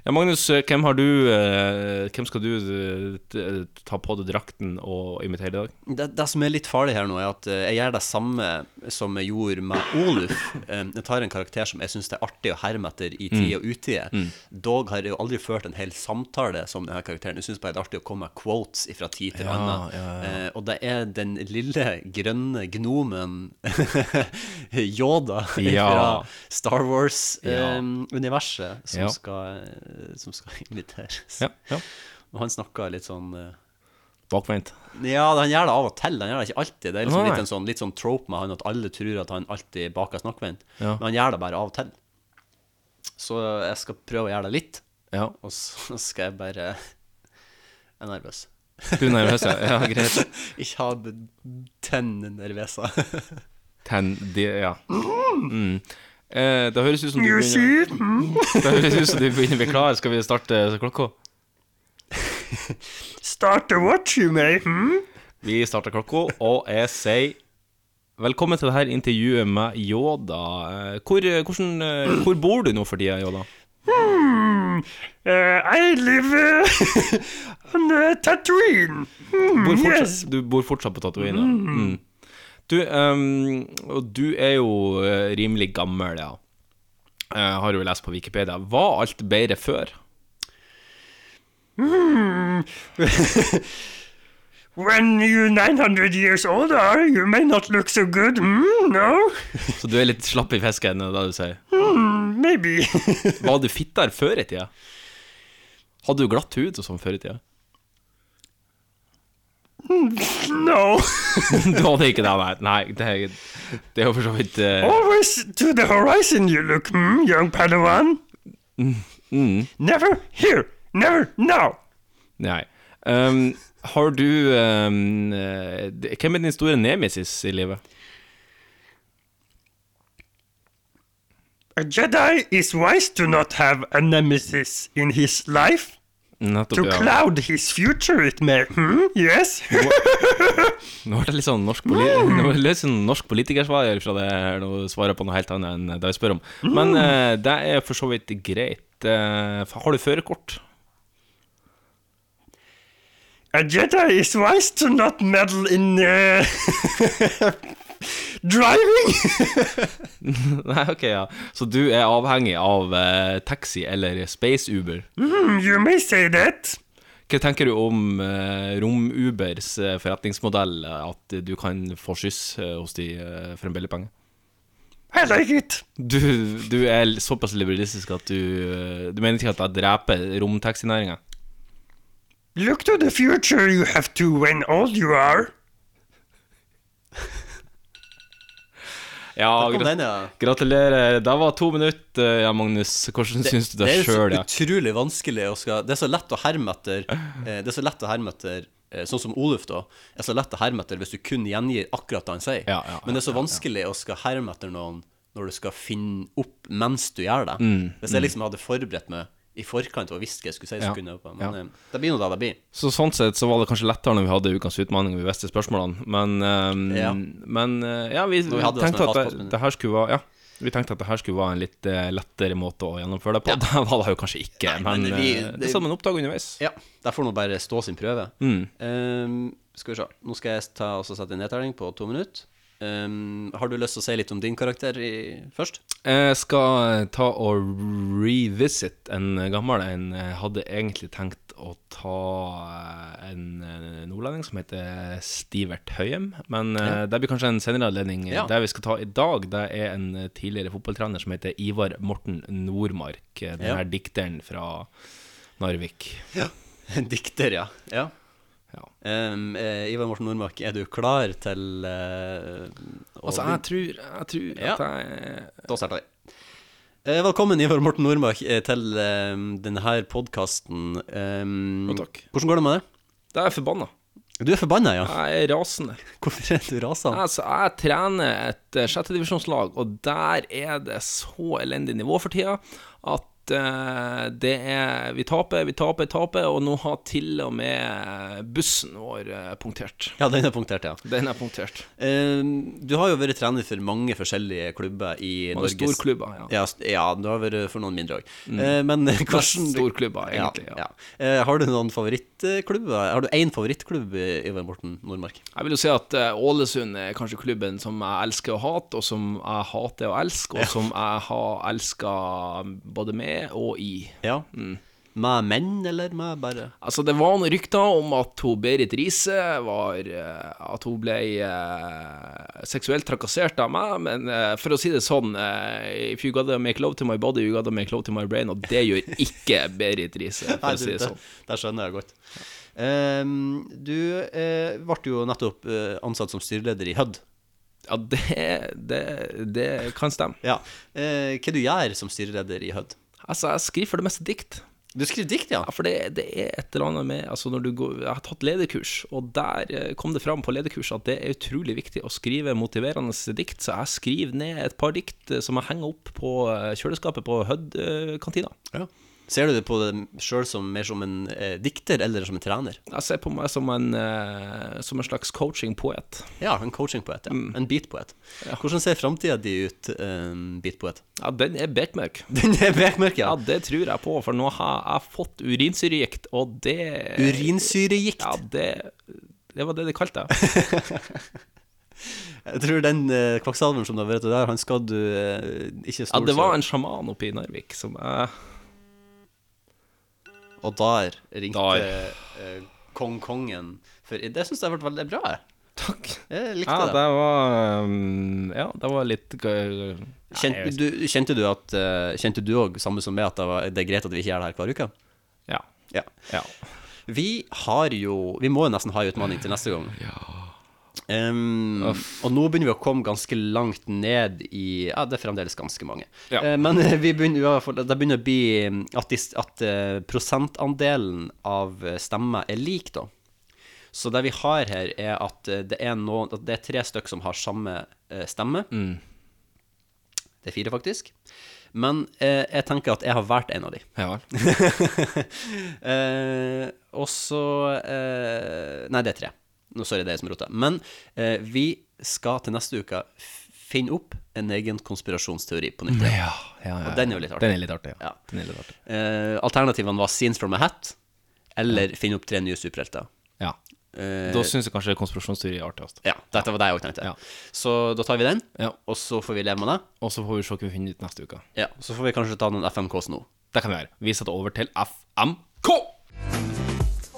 ja Magnus, eh, hvem har du eh, Hvem skal du eh, t- ta på deg drakten og imitere i dag? Det, det som er litt farlig her nå, er at eh, jeg gjør det samme som jeg gjorde med Oluf. Eh, Jeg tar en karakter som jeg syns det er artig å herme etter i tid Mm. og utide. Mm. Dog har jeg jo aldri ført en hel samtale som denne karakteren. Jeg syns bare det er artig å komme med quotes fra tid til Ja, annen. ja, ja. Eh, Og det er den lille grønne gnomen Yoda Ja. fra Star Star Wars-universet som, Ja. skal, eh, som skal inviteres. Ja, ja. Og han snakka litt sånn eh, Bakvendt. Ja, han gjør det av og til. Han gjør det ikke alltid. Det er liksom Nei. litt, en sånn, litt sånn trope med han at alle tror at han alltid baker snakkvendt. Ja. Men han gjør det bare av og til. Så jeg skal prøve å gjøre det litt. Og så skal jeg bare Jeg er nervøs. Du er nervøs, ja. Ja, greit. ikke ha b- tennene nervøse. Ten, de, ja. Mm. Eh, det høres ut som du You see? Mm. begynner Det høres ut som du begynner å bli klar. Skal vi starte eh, klokka? Start the watch you may, Vi starter klokka, og jeg sier velkommen til dette intervjuet med Yoda. Eh, Hvor, hvordan, eh, hvor bor du nå for tida, Yoda? Hmm. Uh, I live uh, on uh, Tatooine. Hmm, Bor fortsatt, yes. Du bor fortsatt på Tatooine? ja. Mm. Mm. Du, ehm, og du er jo eh, rimelig gammel, ja. Eh, har jo lest på Wikipedia. Var alt bedre før? Hmm. when you're 900 years old are, you may not look so good. Hmm, no? Så du er litt slapp i fisken, er det du sier? Hmm, maybe. Var du fittere før i tida? Hadde du glatt hud og sånn før i tida? Hmm, no. du hadde ikke det, nei. nei det, er- det er jo for så vidt eh, Always to the horizon you look, hmm, young Padawan. Never here, never now. Nei. Um, har du um, eh, d- Hvem er din store nemesis i livet? A Jedi is wise to not have a nemesis in his life. Nettopp, To cloud his future, it may. Hmm? Yes? Nå ble det litt sånn norsk, poli Nå ble det litt sånn norsk politikersvar fra det her, nå svarer jeg på noe helt annet enn det jeg spør om. Men eh, det er for så vidt greit. Eh, fa- har du førerkort? A Jedi is wise to not meddle in uh, driving. Nei, ok, ja. Så du er avhengig av eh, taxi eller Space Uber? Hmm, you may say that. Hva tenker du om eh, Rom-Ubers eh, forretningsmodell, eh, at du kan få skyss eh, hos de eh, for en billig penge? I like it. Du, du er l- såpass liberalistisk at du eh, Du mener ikke at jeg dreper romtaxinæringa? Look to the future you have to when old you are. Ja, Der kom grat- den, ja. gratulerer. Det var to minutter, eh, ja, Magnus. Hvordan syns du det er så sjøl? Ja? utrolig vanskelig å skal Det er så lett å herme etter eh, Det er så lett å herme etter eh, Sånn som Oluf, da. er så lett å herme etter hvis du kun gjengir akkurat det han sier. Men det er så vanskelig å skal herme etter noen når du skal finne opp mens du gjør det. Mm, Hvis jeg mm. liksom hadde forberedt meg i forkant og visst hva jeg skulle si, så Ja, kunne jeg opp, ja. men eh, det blir nå det det blir. Så sånn sett så var det kanskje lettere når vi hadde Ukens utfordring og vi visste spørsmålene, men ehm, Ja. Men eh, ja, vi, Når vi vi hadde det som tenkte en at det, fastpostminne. det her skulle være Ja. Vi tenkte at det her skulle være en litt eh, lettere måte å gjennomføre det på. Det var det jo kanskje ikke, men, Men vi, eh, det, er som en oppdag underveis. Ja, der får nå bare stå sin prøve. Mm. Ehm, skal vi se. Nå skal jeg ta og så sette en nedtelling på to minutter. Ehm, har du lyst til å si litt om din karakter i, først? Jeg skal eh, ta og revisit en gammel en. Jeg hadde egentlig tenkt å ta eh, en eh, nordlending som heter Stivert Høyem, men eh, Ja. det blir kanskje en senere anledning. Ja. Det vi skal ta i dag, det er en eh, tidligere fotballtrener som heter Ivar Morten Nordmark. eh, Den Ja. her dikteren fra Narvik. En dikter, ja. ja. Ehm, eh, Ivar Morten Nordmark, er du klar til eh, å Altså, jeg tror, jeg tror Ja. at jeg Da starter vi. Eh, velkommen, Ivar Morten Nordmark, eh, til eh, denne podkasten. takk. Hvordan går det med det? Det er forbanna. Du er forbanna, ja? Jeg er rasende. Hvorfor er du rasende? Altså, jeg trener et eh, sjettedivisjonslag, og der er det så elendig nivå for tida at eh, det er Vi taper, vi taper, taper, og nå har til og med bussen vår eh, punktert. Ja, den er punktert, ja. Den er punktert. Eh, Du har jo vært trener for mange forskjellige klubber i Mange Norges storklubber, ja. ja. st- Ja, du har vært for noen mindre òg. Mm. Men Mest hvordan storklubber, egentlig, Ja, ja. Eh, Har du noen favorittklubber? Har du én favorittklubb, eh, Ivar Morten Nordmark? Jeg vil jo si at eh, Ålesund er kanskje klubben som jeg elsker å hate, og som jeg hater å elske, og som jeg har elska både med og i. Ja. Mm. Med menn, eller med bare Altså, det var noen rykter om at hun Berit Riise var eh, At hun ble eh, seksuelt trakassert av meg, men eh, for å si det sånn eh, If you gotta make love to my body, you gotta make love to my brain, og det gjør ikke Berit Riise, for Nei, å si du, det det, sånn. det skjønner jeg godt. Ehm, du eh, ble jo nettopp eh, ansatt som styreleder i Hødd. Ja, det, kan stemme. Ja. Eh, hva du gjør som styreleder i Hødd? Altså, jeg skriver for det meste dikt. Du skriver dikt, ja? Ja, for det, det er et eller annet med Altså, når du går Jeg har tatt lederkurs, og der eh, kom det fram på lederkurset at det er utrolig viktig å skrive motiverende dikt, så jeg skriver ned et par dikt eh, som jeg henger opp på eh, kjøleskapet på Hødd-kantina. Ser du det på deg sjøl som, mer som en eh, dikter eller som en trener? Jeg ser på meg som en, eh, som en slags coaching-poet. Ja, en coachingpoet. Ja. Mm. En beatpoet. Hvordan ser framtida di ut, um, beatpoet? Ja, den er bekmørk. Den er bekmørk, ja. Det tror jeg på, for nå har jeg fått urinsyregikt, og det Urinsyregikt? Ja, det, det var det de kalte det. Jeg tror den eh, kvakksalveren som du har vært der, han skal du eh, ikke Ja, stole det var en sjaman oppe i Narvik som jeg Og der ringte Der. eh, kong kongen. For det syns jeg ble veldig bra. jeg. Jeg likte Ja, det. det var um, Ja, det var litt gøy. Kjente du, kjente du at eh, Kjente du òg, samme som meg, at det, var, det er greit at vi ikke gjør det her hver uke? Ja. ja. Vi har jo Vi må jo nesten ha en utfordring til neste gang. Em, og nå begynner vi å komme ganske langt ned i Ja, det er fremdeles ganske mange. Ja. Eh, men vi begynner, i hvert fall- det begynner å bli at, dis- at eh, prosentandelen av eh, stemmer er lik, da. Så det vi har her, er at eh, det er, noen, at det er tre stykk som har samme eh, stemme. Det er fire, faktisk. Men eh, jeg tenker at jeg har valgt en av de. Ja eh, og så eh, Nei, det er tre. Nå Sorry, det er jeg som roter. Men eh, vi skal til neste uke f- finne opp en egen konspirasjonsteori på nytt. Ja, ja, ja, Og den er jo litt artig. Den er litt artig, ja. Den er litt artig. Eh, alternativene var Scenes from a Hat eller finne opp tre nye superhelter. Ja. Eh, Da syns jeg kanskje konspirasjonsteori er artigst. ja, dette var det jeg òg tenkte. Så da tar vi den, og så får vi leve med det. Og så får vi se hva vi finner ut neste uke. Ja, Så får vi kanskje ta noen FMKs nå. Det kan vi gjøre. Vi setter over til FMK.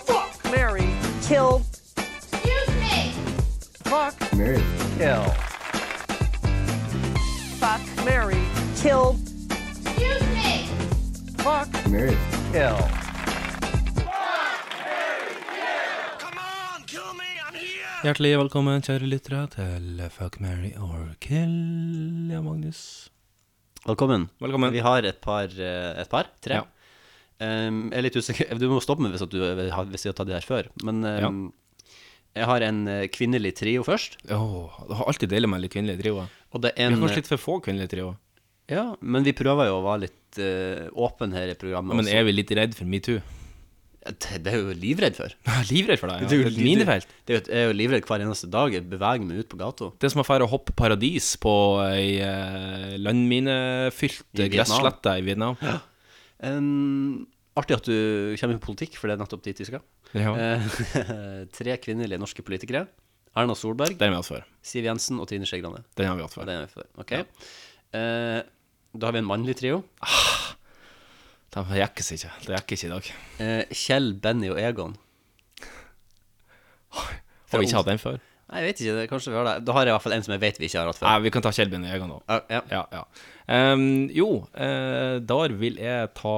Fuck Mary. Kill. Excuse me. Fuck. Mary. Kill. Fuck Mary. Kill. Excuse me. Fuck. Mary. Kill. Hjertelig velkommen, kjære lyttere, til Fuck, Mary or Kill. Ja, Magnus. Velkommen. Velkommen. Vi har et par, eh, et par tre. Ja. Um, jeg er litt usikker Du må stoppe meg hvis, at du, hvis jeg har tatt de her før. Men um, jeg har en eh, kvinnelig trio først. det har alltid deilig med litt kvinnelige trioer. Og det Vi er har en, kanskje litt for få kvinnelige trioer. Ja, men vi prøver jo å være litt eh, åpen her i programmet. Men er vi litt redd for metoo? Det, det er jeg jo livredd for. livredd for det, ja. Det er Det jo er et li- det- minefelt. det er jo- Jeg er jo livredd hver eneste dag. Jeg beveger meg ut på gata. Det er som å fære å hoppe paradis på ei eh, landminefylt I Vietnam. gresslette i Vietnam. Um, artig at du kommer med politikk, for det er nettopp dit vi skal. Ja. Eh, tre kvinnelige norske politikere. Erna Solberg. Den har vi hatt før. Siv Jensen og Trine Skei Grande. Den har vi hatt før. Den har vi før. Ok. Eh, da har vi en mannlig trio. Det rekkes ikke. Det rekkes ikke i dag. Eh, Kjell, Benny og Egon. Har vi ikke hatt den før? Nei, jeg vet ikke. det- Kanskje vi har det. Da har jeg i hvert fall en som jeg vet vi ikke har hatt før. Nei, vi kan ta Kjell Benny Egan nå. ja. Ja, ja. Ehm, jo, eh, der vil jeg ta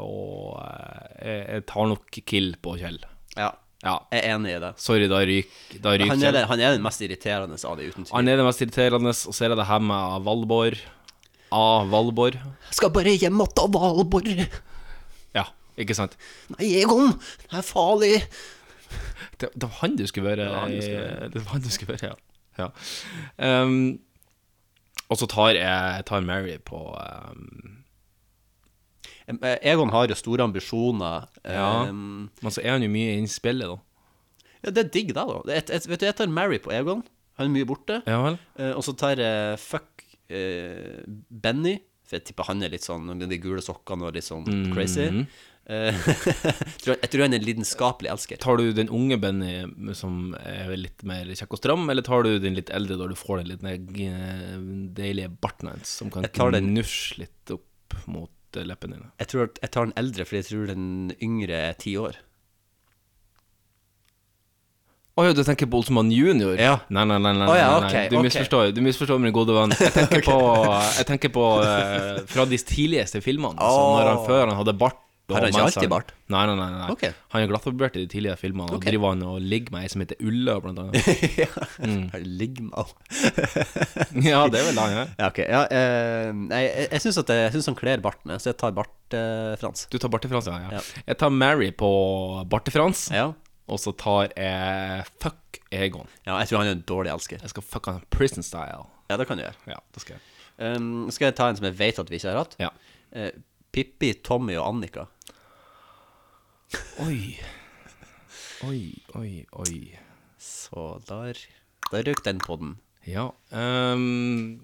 og eh, Jeg tar nok kill på Kjell. Ja. Jeg er enig i det. Sorry, da ryker da ryker han, er Kjell. den, han er den mest irriterende av de, uten tvil. Han er det mest irriterende, og så er det det her med Valborg. A. Valborg. Skal bare hjem att av Valborg. Ja, ikke sant? Nei, Egon! Det er farlig! Det, det var han du skulle være. Det var han du skulle i- Det var han du skulle være, ja. ja. Um, og så tar jeg tar Mary på um, Eh, Egon har jo store ambisjoner. Ja, Um, men så er han jo mye inn i spillet, da. Ja, det er digg, det, da. Jeg, jeg, vet du, jeg tar Mary på Egon. Han er mye borte. Ja vel. Eh, og så tar jeg fuck eh, Benny, for jeg tipper han er litt sånn med de gule sokkene og litt sånn Mhm. crazy. Eh, tror, jeg tror han er en lidenskapelig elsker. Tar du den unge Benny som er litt mer kjekk og stram, eller tar du den litt eldre da du får den litt mer g- deilige barten hans, som kan Jeg tar den- knusje litt opp mot eh, leppene dine. Jeg tror at jeg tar den eldre, fordi jeg tror den yngre er ti år. Å ja, du tenker på Olsmann junior? Ja. Nei, nei, nei. nei, Å ja, nei, nei. ok, Du ok. misforstår, du misforstår min gode venn. Jeg tenker på, jeg tenker på eh, fra de tidligste filmene. Så Åh. når han Før han hadde bart. og Har han ikke med seg- alltid bart? Nei, nei, nei. nei. Ok. Han er glattbarbert i de tidligere filmene. Og Ok. driver han og ligger med ei som heter Ulla, blant annet. Mm. Ligg med au. Ja, det er vel han, ja. Ja, ok. Ja, eh, nei, jeg, jeg syns at jeg, jeg synes han kler barten, så jeg tar eh, bart-Frans. Du tar Barte-Frans, ja, ja. Jeg tar Mary på Barte-Frans. Og så tar jeg Fuck Egon. Ja, jeg tror han er en dårlig elsker. Jeg skal fucke han prison style. Ja, det kan du gjøre. Ja, det skal jeg. Um, skal jeg ta en som jeg vet at vi ikke har hatt? Ja. Eh, Pippi, Tommy og Annika. Oi. Oi, oi, oi. Så der Der røk den på den. Ja. ehm,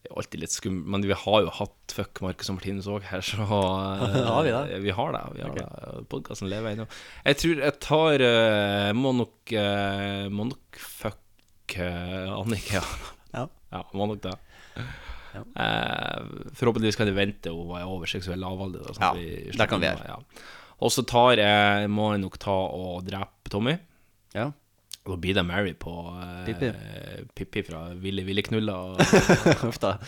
det er alltid litt skummelt, men vi har jo hatt fuck Marcus og Martinus òg her, så eh, Har vi det? Vi har det. Vi har det. Podkasten lever ennå. Jeg tror jeg tar eh, Må nok eh, Må nok fuck eh, Annika. Ja. må nok det. Eh, forhåpentligvis kan de vente hun er over seksuell lavalder. da, sånn Ja, at vi det slipper kan vi unna, gjøre. Ja. Og så tar jeg Må jeg nok ta og drepe Tommy. Ja. Og da blir det Mary på eh, Pippi. Pippi fra Ville Ville Knulla. Uff da.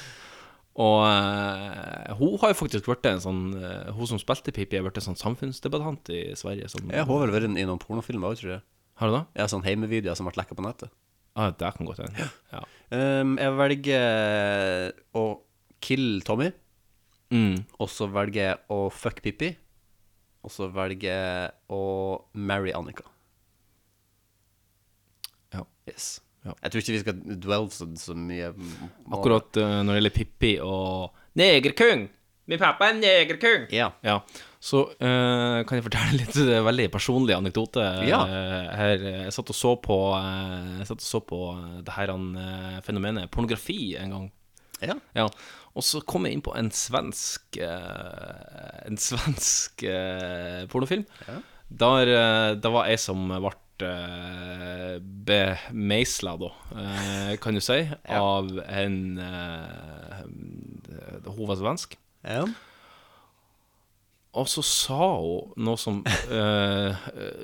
Og eh, hun har jo faktisk vært en sånn eh, Hun som spilte Pippi, har vært en sånn samfunnsdebattant i Sverige. Som, Jeg har vel vært i noen pornofilmer òg, tror jeg. Har du det? Ja, sånn heimevideoer som ble lekka på nettet. Ah, det kan godt hende. Ja. Um, jeg velger å kill Tommy. Mm. Og så velger jeg å fuck Pippi. Og så velger jeg å marry Annika. Ja. Yes. Ja. Jeg tror ikke vi skal dwell så, så mye Akkurat eh, når det gjelder Pippi og Negerkung! Min pappa er en negerkung! Ja. Så eh, kan jeg fortelle litt eh, veldig personlig anekdote. eh, Ja. her, eh, jeg satt og så på, eh, jeg satt og så på eh, det her eh, fenomenet pornografi en gang. Ja. Og så kom jeg inn på en svensk eh, En svensk eh, pornofilm. Der, eh, det var jeg som ble eh, bemeisla, da, eh, kan du si, av en eh, Hun var svensk. Ja. Og så sa hun noe som eh,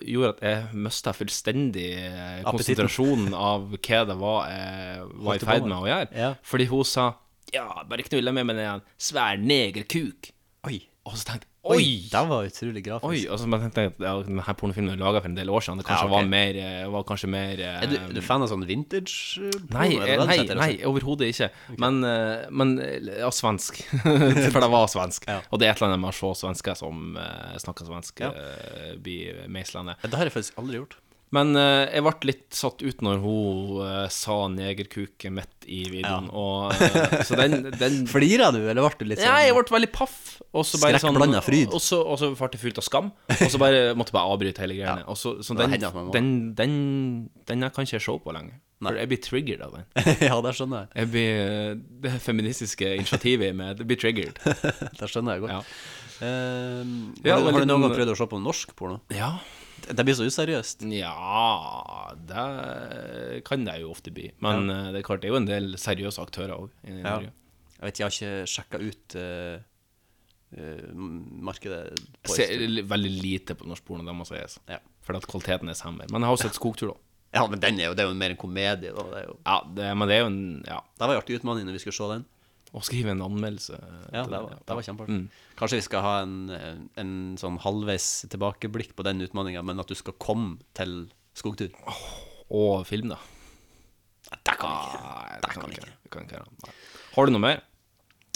gjorde at jeg mista fullstendig eh, Appetitten. konsentrasjonen av hva det var jeg var i Holdt du på ferd med? med å gjøre. Ja. Fordi hun sa Ja, bare knulla meg med en svær negerkuk. Og så tenkte jeg Oi! Oi! Den var utrolig grafisk. Oi, altså, men jeg tenkte at ja, denne pornofilmen er laga for en del år siden. Det kanskje Ja, ok. var mer, eh, var kanskje mer eh, Er du, er du fan av sånn vintage? eh, porno? Nei, Er det det du nei, setter, nei altså? overhodet ikke. Men, eh, men eh, ja, svensk. For det var svensk. Og det er et eller annet med å se svensker som eh, snakker svensk, Ja. eh, blir meislandet. Det har jeg faktisk aldri gjort. Men eh, jeg ble litt satt ut når hun eh, sa 'negerkuke' midt i videoen. Og, eh, så den, den Flira du, eller ble du litt sånn Nei, jeg ble veldig paff. Og så bare sånn- Skrekk blandet fryd. Og så, og så ble jeg fylt av skam. Og så bare måtte jeg bare avbryte hele greiene. Og så, så Det den, hender at man må. den, den, den her kan ikke jeg se på lenger. For jeg blir triggered av den. sånn? Ja, det skjønner jeg. Jeg blir, eh, det feministiske initiativet med det blir triggered. Det skjønner jeg godt. Ja. Ehm, Ja, har, og du, har litt du noen noen- gang prøvd å se på norsk porno? Ja. Det, det blir så useriøst. Ja Det kan det jo ofte bli. Men eh, det er klart det er jo en del seriøse aktører òg. Ja. Jeg vet, jeg har ikke sjekka ut eh, eh, markedet på Jeg ser li- veldig lite på norsk porno, det må sies. Fordi at kvaliteten er samme. Men jeg har jo sett Skogtur, da. Ja, men den er jo, det er jo mer en komedie, da. Det er jo. Ja, det, men det er jo en Ja. Det var jo artig utmanning når vi skulle se den. Å skrive en anmeldelse. eh, Ja, til det den, var, det var kjempeartig. Mm. Kanskje vi skal ha en, en sånn halvveis tilbakeblikk på den utmanninga, men at du skal komme til skogtur. Og film, da. Det kan vi ikke. Nei, Det kan vi ikke. det kan ikke være. Nei. Har du noe mer?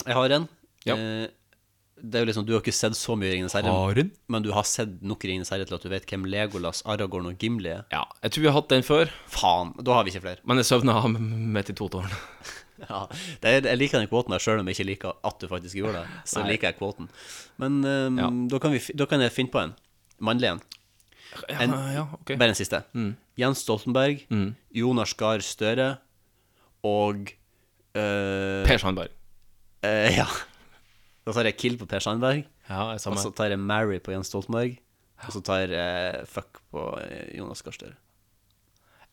Jeg har en. Ja. Eh, Det er jo liksom, Du har ikke sett så mye Ringenes herre, Har en? men du har sett nok Ringenes herre til at du vet hvem Legolas, Aragorn og Gimli er. Ja, Jeg tror vi har hatt den før. Faen, da har vi ikke flere. Men jeg søvna av midt i totårene. Ja, det er, Jeg liker den kvoten, sjøl om jeg ikke liker at du faktisk gjorde det. Så Nei. liker jeg kvoten. Men ehm, da, kan vi, fi- da kan jeg finne på en. Mannlig en. En- ja, ok. Bare en siste. Mm. Jens Stoltenberg, Mm. Jonas Gahr Støre og eh, Per Sandberg. eh, ja. Da tar jeg kill på Per Sandberg. Ja, jeg sa og meg. så tar jeg Mary på Jens Stoltenberg. Og så tar jeg eh, fuck på eh, Jonas Gahr Støre.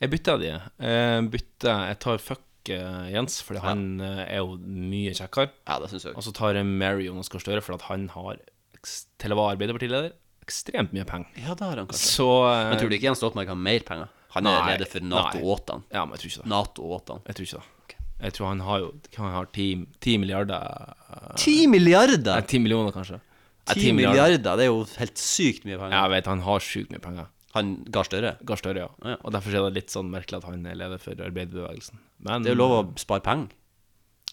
Jeg bytter de. Jeg bytter Jeg tar fuck eh, Jens, Fordi han eh, er jo mye kjekkere. Ja, det synes jeg Og så tar jeg Mary Jonas Gahr Støre, fordi at han har, eks- til å være Arbeiderpartileder, ekstremt mye penger. Ja, det har han kanskje. Så eh, Men tror du ikke Jens Stoltenberg har mer penger? Han er Nei, leder for Nato nei. åt han. Ja, men jeg tror ikke det. Nato åt han. Jeg tror ikke det. Jeg tror han har jo Han har ti, ti milliarder eh, Ti milliarder? Nei, ti millioner, kanskje. Nei, Ti milliarder, det er jo helt sykt mye penger. Ja, jeg vet, han har sykt mye penger. Han Gahr Støre? Gahr Støre, ja. Og derfor er det litt sånn merkelig at han er leder for arbeiderbevegelsen. Men Det er jo lov å spare penger.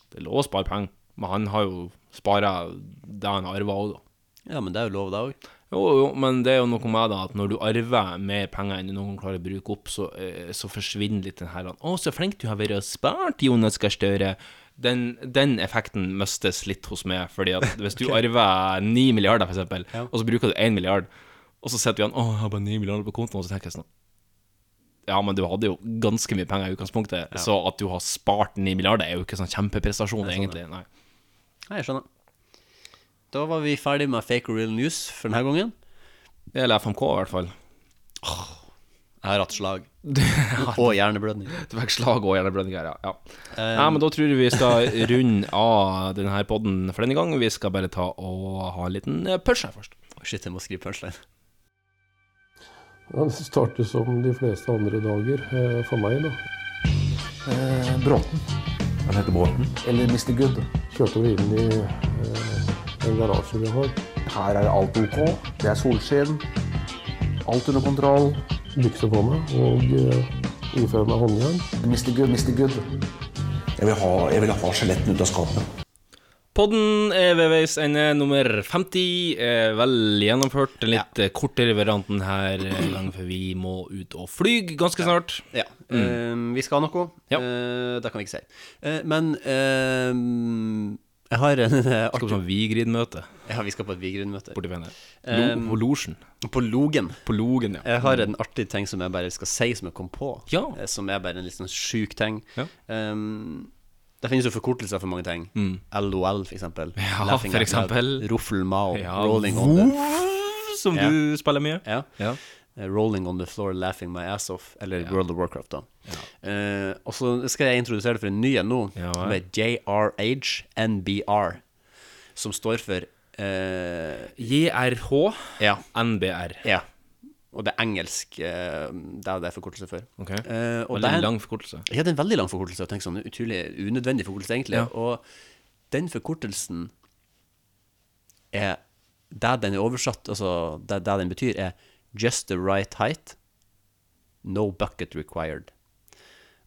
Det er lov å spare penger, men han har jo spara det han arva òg, da. Ja, men det er jo lov, det òg. Jo, jo, men det er jo noe med det at når du arver mer penger enn noen klarer å bruke opp, så, eh, så forsvinner litt den her Å, så flink du har vært og spart, Jonas Gahr Støre. Den, den effekten mistes litt hos meg, fordi at hvis du Ok. arver 9 milliarder, for eksempel, Ja. og så bruker du 1 milliard, og så sitter vi an Å, jeg har bare 9 milliarder på kontoen, og så tenker jeg sånn ja, men du hadde jo ganske mye penger i utgangspunktet, så at du har spart 9 milliarder, er jo ikke sånn kjempeprestasjon, Nei, sånn, egentlig. Nei. Nei, jeg skjønner. Da var vi ferdig med fake or real news for denne gangen. Eller FMK, i hvert fall. Jeg har hatt slag. og hjerneblødning. Du fikk slag og hjerneblødning her, ja. ja. Eh, Nei, men da tror jeg vi skal runde av denne podden for denne gang. Vi skal bare ta og ha en liten eh, punchline først. Shit, jeg må skrive punchline. Den starter som de fleste andre dager, eh, for meg, da. Eh, Bråten. Han heter Bråten. Eller Mr. Good. Kjørte vi inn i eh, en garasje vi har. Her er alt ok. Det er solskinn. Alt under kontroll. Bukse på meg og eh, ifører meg håndjern. Mr. Good, Mr. Good. Jeg vil ha, jeg vil ha skjeletten ut av skapet. Podden er ved veis ende nummer 50. Er vel gjennomført. Den litt eh, kortere varianten her, eh, lang for vi må ut og flyge ganske snart. Ja. Mm. Eh, vi skal ha noe. Eh, det kan vi ikke si. Eh, men eh, jeg har en Skal på sånn Vigrid-møte. Ja, vi skal på et Vigrid-møte. Borti Venner. Eh, Lo- på Logen. På Logen. På Logen, ja. Jeg har en artig ting som jeg bare skal si, som jeg kom på. Ja. Eh, Som er bare en litt sånn sjuk ting. Um, det finnes jo forkortelser for mange ting. Mm. LOL, for eksempel. Ja, Laughing for out loud. eksempel. Ruffle Mao. Ja, Rolling on the som du spiller mye. Ja. Eh, Rolling on the floor, laughing my ass off. Eller World of Warcraft, da. Eh, og så skal jeg introdusere det for en ny en nå, Ja, som vel. er JRHNBR. Som står for eh, JRH ja. NBR. Ja. Og det er engelsk. eh, det er det forkortelse for. Ok. Eh, og Veldig det er en- lang forkortelse. Ja, det er en veldig lang forkortelse. Og tenk sånn, utrolig unødvendig forkortelse, egentlig. Ja. Og den forkortelsen er Det den er oversatt, altså det, det den betyr, er Just the right height, no bucket required.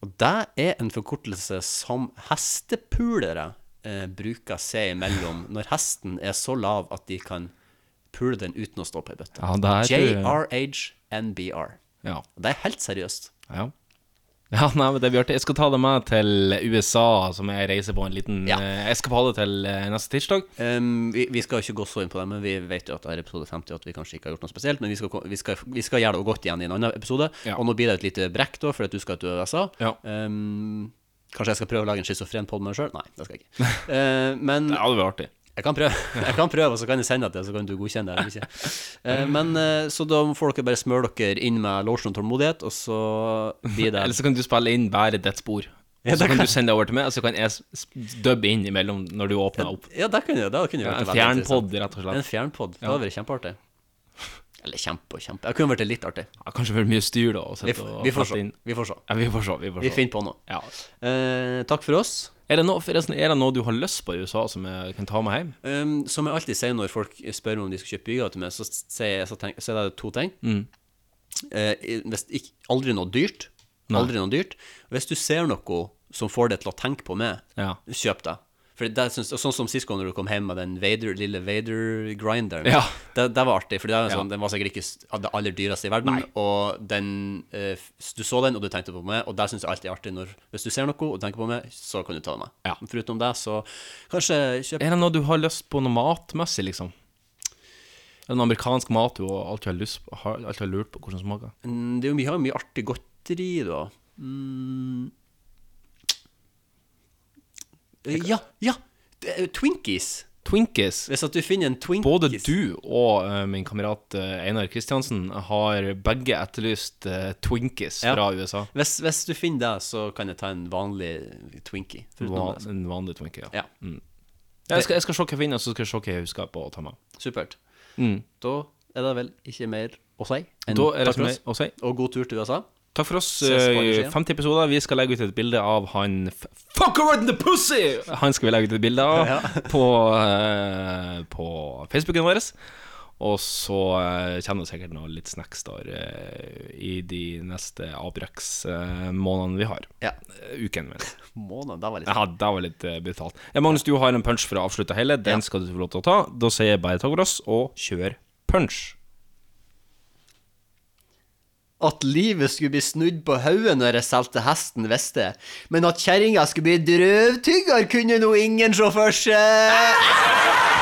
Og det er en forkortelse som hestepulere eh, bruker seg imellom når hesten er så lav at de kan pule den uten å stå på ei bøtte. Ja, eh, det er- JRHNBR. Ja. Og Det er helt seriøst. Ja. Ja, nei, men det blir artig. Jeg skal ta det med til USA, som jeg reiser på en liten ja. eskapade til eh, neste tirsdag. Um, vi, vi skal jo ikke gå så inn på det, men vi vet jo at det er episode 50 at vi kanskje ikke har gjort noe spesielt. Men vi skal, ko- vi skal, vi skal gjøre det godt igjen i en annen episode. Ja. Og nå blir det et lite brekk, da, fordi at du skal til USA. Ja. Um, kanskje jeg skal prøve å lage en schizofren pod med meg sjøl? Nei, det skal jeg ikke. Eh, men Ja, det blir artig. Jeg kan prøve, jeg kan prøve og så kan jeg sende det til deg, så kan du godkjenne det. eller ikke. Eh, men eh, Så da får dere bare smøre dere inn med lotion og tålmodighet, og så blir det Eller så kan du spille inn bare ditt spor. Ja, Og så det kan kan- du sende det over til meg, og så kan jeg s- s- dubbe inn imellom når du åpner opp. Ja, det kunne det. Kunne Ja, vært en veldig fjernpodd, interessant. rett og slett. En fjernpod. Det Ja. hadde vært kjempeartig. Eller kjempe og kjempe Det kunne vært litt artig. Ja, kanskje for mye styr, da. å Vi, sette f- og vi, får flette se. inn. vi får se. Ja, vi får se. Vi, får Vi se. finner på noe. Ja. Eh, takk for oss. Er det, noe, forresten, er det noe du har lyst på i USA som jeg kan ta med hjem? Um, som jeg alltid sier når folk spør meg om de skal kjøpe bygger til meg, så, sier jeg, så, tenk, så er det to ting. Mm. Eh, i- hvis, ikke, aldri noe dyrt. Nei. Aldri noe dyrt. Hvis du ser noe som får deg til å tenke på meg, Ja. kjøp det. For det synes, og sånn som sist gang når du kom hjem med den Vader, lille Vader-grinderen. Ja. Det, det var artig, for det er en Ja. sånn, den var sikkert ikke s- av det aller dyreste i verden. Og den, eh, f- du så den, og du tenkte på meg, og det syns jeg alltid er artig. Når, hvis du ser noe og tenker på meg, så kan du ta det med. Ja. Foruten det, så kanskje kjøp Er det noe du har lyst på noe matmessig, liksom? Er det noe amerikansk mat du alltid har lyst på? Har, alltid har lurt på hvordan det smaker? Mm, Det er jo mye, mye artig godteri, da. Mm. Eh, Ja, ja! det er jo Twinkies. Twinkies Hvis at du finner en Twinkies Både du og eh, min kamerat eh, Einar Kristiansen har begge etterlyst eh, Twinkies Ja. fra USA. Hvis, hvis du finner det, så kan jeg ta en vanlig Twinkie. foruten Van, det. en vanlig Twinkie, ja. Ja. Mm. Jeg, skal, jeg skal se hva jeg finner, og så skal jeg se hva jeg husker på å ta med. Supert. Mm. Da er det vel ikke mer å si. enn Da er det takk for mer oss. å si. Og god tur til USA. Takk for oss. Ses på andre eh, siden. 50 episoder. Vi skal legge ut et bilde av han f- Fuck over in the pussy! Han skal vi legge ut et bilde av på, eh, på Facebooken vår. Og så eh, kommer det sikkert noe litt snacks der eh, i de neste avbrekksmånedene vi har. Eh, Uken, mener jeg. Måned, det var litt Ja, det var litt eh, brutalt. Ja, Magnus, du har en punch for å avslutte hele. Den skal du få lov til å ta. Da sier jeg bare takk for oss, og kjør punch. At livet skulle bli snudd på hodet når jeg solgte hesten, visste jeg. Men at kjerringa skulle bli drøvtygger, kunne nå ingen se for seg.